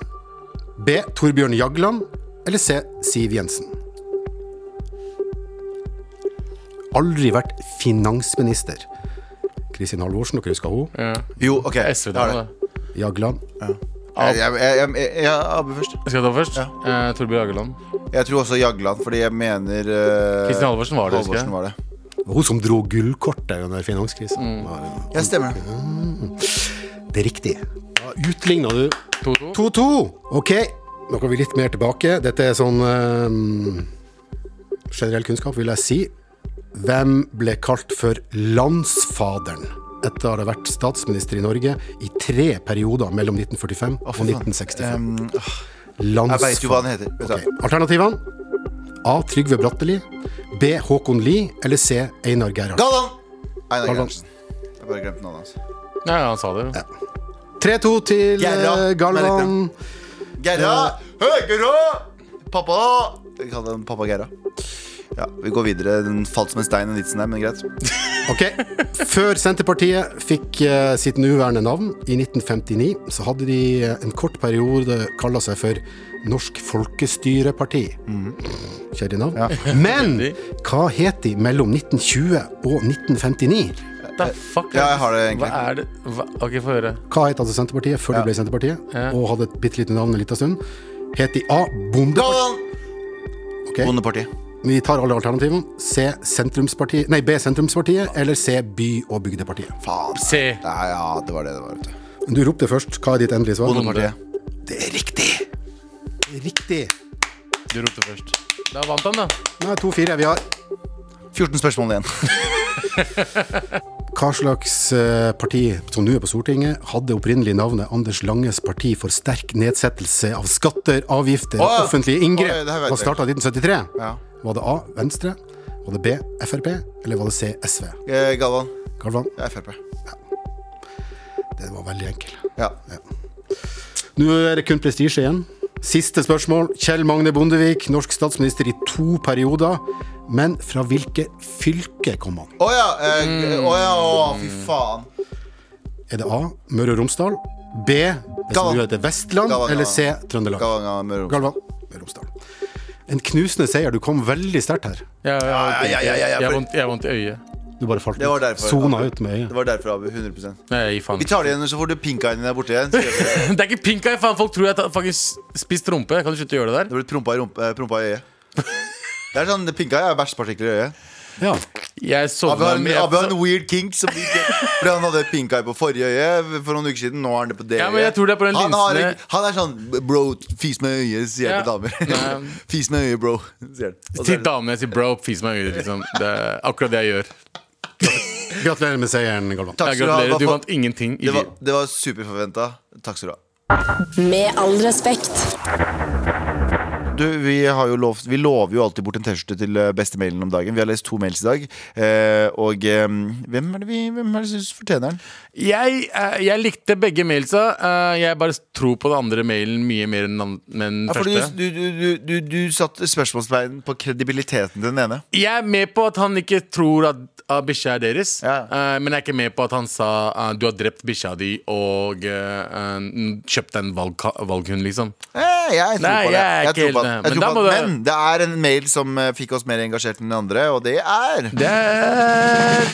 Speaker 6: B. Torbjørn Jagland. Eller C. Siv Jensen. Aldri vært finansminister. Kristin Halvorsen, dere husker hun.
Speaker 3: Ja.
Speaker 2: Jo, OK. jeg
Speaker 3: SV,
Speaker 2: har
Speaker 3: da.
Speaker 2: det.
Speaker 3: da.
Speaker 6: Jagland.
Speaker 2: Jeg, jeg, jeg, jeg, jeg, Abu først.
Speaker 3: Skal jeg ta først? Eh, Torbjørn Hageland.
Speaker 2: Jeg tror også Jagland, fordi jeg mener eh,
Speaker 3: Kristin Halvorsen var det, husker jeg.
Speaker 2: Halvorsen var det.
Speaker 6: Det var Hun som dro gullkortet under finanskrisen.
Speaker 2: Jeg stemmer det.
Speaker 6: Det er riktig. Da utligna du
Speaker 3: 2-2.
Speaker 6: 2-2. Ok, nå går vi litt mer tilbake. Dette er sånn eh, generell kunnskap, vil jeg si. Hvem ble kalt for landsfaderen etter å ha vært statsminister i Norge i tre perioder mellom 1945
Speaker 2: Å,
Speaker 6: og
Speaker 2: fy faen.
Speaker 6: 1965?
Speaker 2: Um, åh, jeg veit jo hva
Speaker 6: Landsfaderen.
Speaker 2: den heter. Vet du hva?
Speaker 6: Ok, Alternativene? A. Trygve Bratteli. B. Håkon Lie. Eller C. Einar Gerhardsen.
Speaker 2: Galvan! Einar
Speaker 6: Galvan.
Speaker 2: Gerhardsen. Jeg bare glemte navnet hans.
Speaker 3: Ja, ja, han sa det. jo.
Speaker 6: 3-2 til
Speaker 2: Gerra.
Speaker 6: eh, Galvan.
Speaker 2: Gerra! Høgerå! Pappa! Vi kaller den pappa Gerra. Ja, Vi går videre. Den falt som en stein, den vitsen der, men greit.
Speaker 6: Ok, Før Senterpartiet fikk eh, sitt nåværende navn i 1959, så hadde de eh, en kort periode kalla seg for Norsk Folkestyreparti. Kjedelig navn. Men hva het de mellom 1920 og 1959?
Speaker 3: The fuck?
Speaker 2: Eh, Ja, jeg har det egentlig.
Speaker 3: Hva er det? Hva? Ok, få høre.
Speaker 6: Hva het altså Senterpartiet før de ble Senterpartiet, og hadde et bitte lite navn en liten stund? Het de A. Bondepartiet?
Speaker 2: Galvan!
Speaker 6: Ok,
Speaker 2: Bondepartiet.
Speaker 6: Vi tar alle alternativene. C. Sentrumspartiet Nei, B. Sentrumspartiet, eller C. By- og bygdepartiet.
Speaker 2: Faen.
Speaker 3: C.
Speaker 2: Nei, ja, det var det det var. vet du.
Speaker 6: Du ropte først. Hva er ditt endelige svar?
Speaker 2: Bondepartiet.
Speaker 6: Det er riktig. Det er Riktig.
Speaker 3: Du ropte først. Da vant han, da.
Speaker 6: Nå er det 2-4. Vi har
Speaker 2: 14 spørsmål
Speaker 6: [LAUGHS]
Speaker 2: igjen.
Speaker 6: hva slags eh, parti som nå er på Stortinget, hadde opprinnelig navnet Anders Langes parti for sterk nedsettelse av skatter, avgifter og
Speaker 2: Å, ja. Å,
Speaker 6: offentlige
Speaker 2: ja,
Speaker 6: inngrep?
Speaker 2: det her vet
Speaker 6: Hva
Speaker 2: jeg.
Speaker 6: starta 1973?
Speaker 2: Ja.
Speaker 6: Var det A. Venstre? Var det B. Frp? Eller var det C. SV?
Speaker 2: Eh, Galvan.
Speaker 6: Galvan,
Speaker 2: Det er Frp.
Speaker 6: det var veldig enkelt.
Speaker 2: Ja.
Speaker 6: Nå er det kun prestisje igjen. Siste spørsmål. Kjell Magne Bondevik, norsk statsminister i to perioder. Men fra hvilket fylke kom han?
Speaker 2: Å ja. eh,
Speaker 6: Mm.
Speaker 2: Å ja, å, fy faen.
Speaker 6: Er det A. Møre og Romsdal? B. Det som
Speaker 2: Galvan.
Speaker 6: nå heter Vestland?
Speaker 2: Galvan,
Speaker 6: eller C.
Speaker 2: Galvan.
Speaker 6: Trøndelag?
Speaker 2: Galvan, Galvan, Møre og Romsdal.
Speaker 6: Galvan. Møre og Romsdal. En knusende seier. Du kom veldig sterkt her.
Speaker 3: Ja, ja,
Speaker 2: ja, ja, ja, ja,
Speaker 3: Jeg har
Speaker 2: for-
Speaker 3: vondt- jeg har vondt i øyet.
Speaker 6: Du bare falt
Speaker 2: Det var
Speaker 6: ut.
Speaker 2: derfor.
Speaker 6: Sona
Speaker 2: Abu.
Speaker 6: ut med
Speaker 2: Det
Speaker 6: øyet.
Speaker 2: var derfor, Abu. 100
Speaker 3: Nei, jeg gir faen.
Speaker 2: Vi tar det igjen så får du pinka inn der borte igjen. Så gjør vi Det
Speaker 3: [LAUGHS] Det er ikke pink eye, faen. Folk tror jeg har faktisk spist rumpe. Kan du slutte å gjøre
Speaker 2: Det
Speaker 3: det der?
Speaker 2: blir prompa i, rump- eh, prompa i
Speaker 6: [LAUGHS]
Speaker 2: øyet. Det er sånn, det Pinka er verstpartikler i øyet.
Speaker 6: Ja.
Speaker 3: Jeg
Speaker 2: Abu
Speaker 3: sovna
Speaker 2: har en,
Speaker 3: med sånn-
Speaker 2: Abu har en weird kink. Som ikke, fordi han hadde pinka i på forrige øye for noen uker siden. Nå er han det på det
Speaker 3: Ja, men jeg tror det er på den
Speaker 2: han, har,
Speaker 3: linsene-
Speaker 2: en- han er sånn bro, fis med øyet, sier jeg
Speaker 3: [LAUGHS] Ja.
Speaker 2: til damer.
Speaker 3: Nei.
Speaker 2: fis med øyet, bro. Sier han. Og så
Speaker 3: Til
Speaker 2: er det-
Speaker 3: damene jeg sier bro, fis meg i øyet, liksom. Det er akkurat det jeg gjør.
Speaker 6: Gratulerer med seieren, Galvan.
Speaker 2: Takk
Speaker 3: Jeg
Speaker 2: skal du ha.
Speaker 3: gratulerer. Du
Speaker 2: Hva
Speaker 3: vant
Speaker 2: faen-
Speaker 3: ingenting i
Speaker 2: Det var,
Speaker 3: livet.
Speaker 2: det var superforventa. Takk skal du ha.
Speaker 4: Med all respekt.
Speaker 2: Du, vi, har jo lovt, vi lover jo alltid bort en T-skjorte til eh, beste mailen om dagen. Vi har lest to mails i dag. Eh, og eh, hvem er det vi Hvem er det som fortjener den?
Speaker 3: Jeg, eh, jeg likte begge mailsa. eh, Jeg bare tror på den andre mailen mye mer enn den an- enn den
Speaker 2: Ja, for du,
Speaker 3: første.
Speaker 2: du, du, du, du, du satte spørsmålstegn på kredibiliteten til den ene.
Speaker 3: Jeg er med på at han ikke tror at, at bikkja er deres.
Speaker 2: Ja.
Speaker 3: eh, Men jeg er ikke med på at han sa eh, du har drept bikkja di og eh, eh, kjøpt deg en valgka- valghund, liksom.
Speaker 2: Eh, jeg tror
Speaker 3: Nei,
Speaker 2: på det.
Speaker 3: jeg er ikke
Speaker 2: tror på
Speaker 3: helt
Speaker 2: det.
Speaker 3: med.
Speaker 2: Jeg
Speaker 3: Men
Speaker 2: tror på
Speaker 3: da
Speaker 2: det.
Speaker 3: må du-
Speaker 2: Men det er en mail som eh, fikk oss mer engasjert enn den andre, og det er
Speaker 3: Det er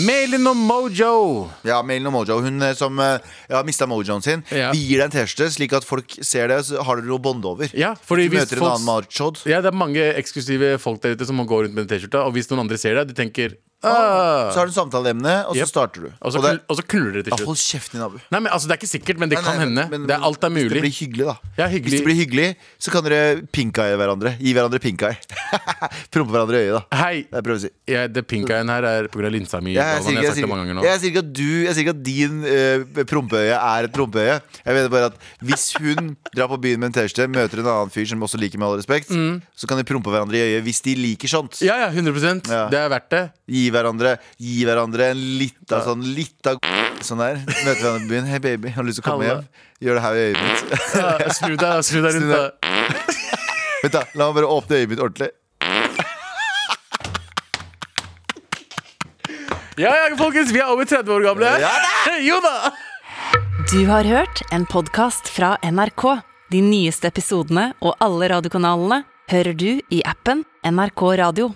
Speaker 3: Mailin og Mojo.
Speaker 2: Ja, Mailen og Mojo, hun eh, som eh, ja, mista mojoen sin.
Speaker 3: Ja.
Speaker 2: Vi gir deg en T-skjorte, slik at folk ser det, så har dere noe å bonde over.
Speaker 3: Ja, fordi
Speaker 2: du
Speaker 3: hvis
Speaker 2: møter
Speaker 3: folk-
Speaker 2: en annen machod.
Speaker 3: Ja, det er mange eksklusive folk der ute som må gå rundt med den T-skjorta. Og hvis noen andre ser deg, de tenker
Speaker 2: Så
Speaker 3: «Ah».
Speaker 2: har du samtaleemne, og så
Speaker 3: Yep.
Speaker 2: starter du.
Speaker 3: Og så,
Speaker 2: Og det
Speaker 3: knull, og så knuller det
Speaker 2: Ja,
Speaker 3: til slutt.
Speaker 2: hold kjeften din, Abu.
Speaker 3: Nei, men altså, Det er ikke sikkert, men det
Speaker 2: Nei,
Speaker 3: kan
Speaker 2: nei,
Speaker 3: hende.
Speaker 2: men- men-
Speaker 3: det er Alt er
Speaker 2: Hvis det
Speaker 3: mulig.
Speaker 2: blir hyggelig, da.
Speaker 3: Ja, hyggelig.
Speaker 2: Hvis det blir hyggelig, så kan dere pink-eye hverandre. Gi hverandre pink-eye. [LAUGHS] Prompe hverandre i øyet, da.
Speaker 3: Hei!
Speaker 2: Det jeg prøver å si.
Speaker 3: Jeg, det pinkaien her er pga. linsa mi.
Speaker 2: Jeg,
Speaker 3: Galvan,
Speaker 2: sier, ikke-
Speaker 3: jeg, har
Speaker 2: jeg,
Speaker 3: sagt det
Speaker 2: sier,
Speaker 3: mange ganger
Speaker 2: ikke-
Speaker 3: nå
Speaker 2: jeg sier ikke at du Jeg sier ikke at din eh, prompeøye er et prompeøye. Jeg mener bare at hvis hun drar på byen med en T-skjorte, møter en annen fyr som også liker med all respekt, så kan de prompe hverandre i øyet hvis de liker sånt.
Speaker 3: Mm. Ja, ja, 100
Speaker 2: Ja.
Speaker 3: Det er verdt det.
Speaker 2: Gi hverandre Gi hverandre en lita sånn lita sånn der. Møter hverandre på byen. Hei, baby, har du lyst til å komme
Speaker 3: Halla.
Speaker 2: hjem? Gjør det her i øyet mitt. [LAUGHS]
Speaker 3: Ja, snu deg snu deg rundt. Da.
Speaker 2: Vent da, La meg bare åpne øyet mitt ordentlig.
Speaker 3: Ja, ja, folkens, vi er over 30 år gamle.
Speaker 2: Ja
Speaker 3: jo da!
Speaker 1: Du har hørt en podkast fra NRK. De nyeste episodene og alle radiokanalene hører du i appen NRK Radio.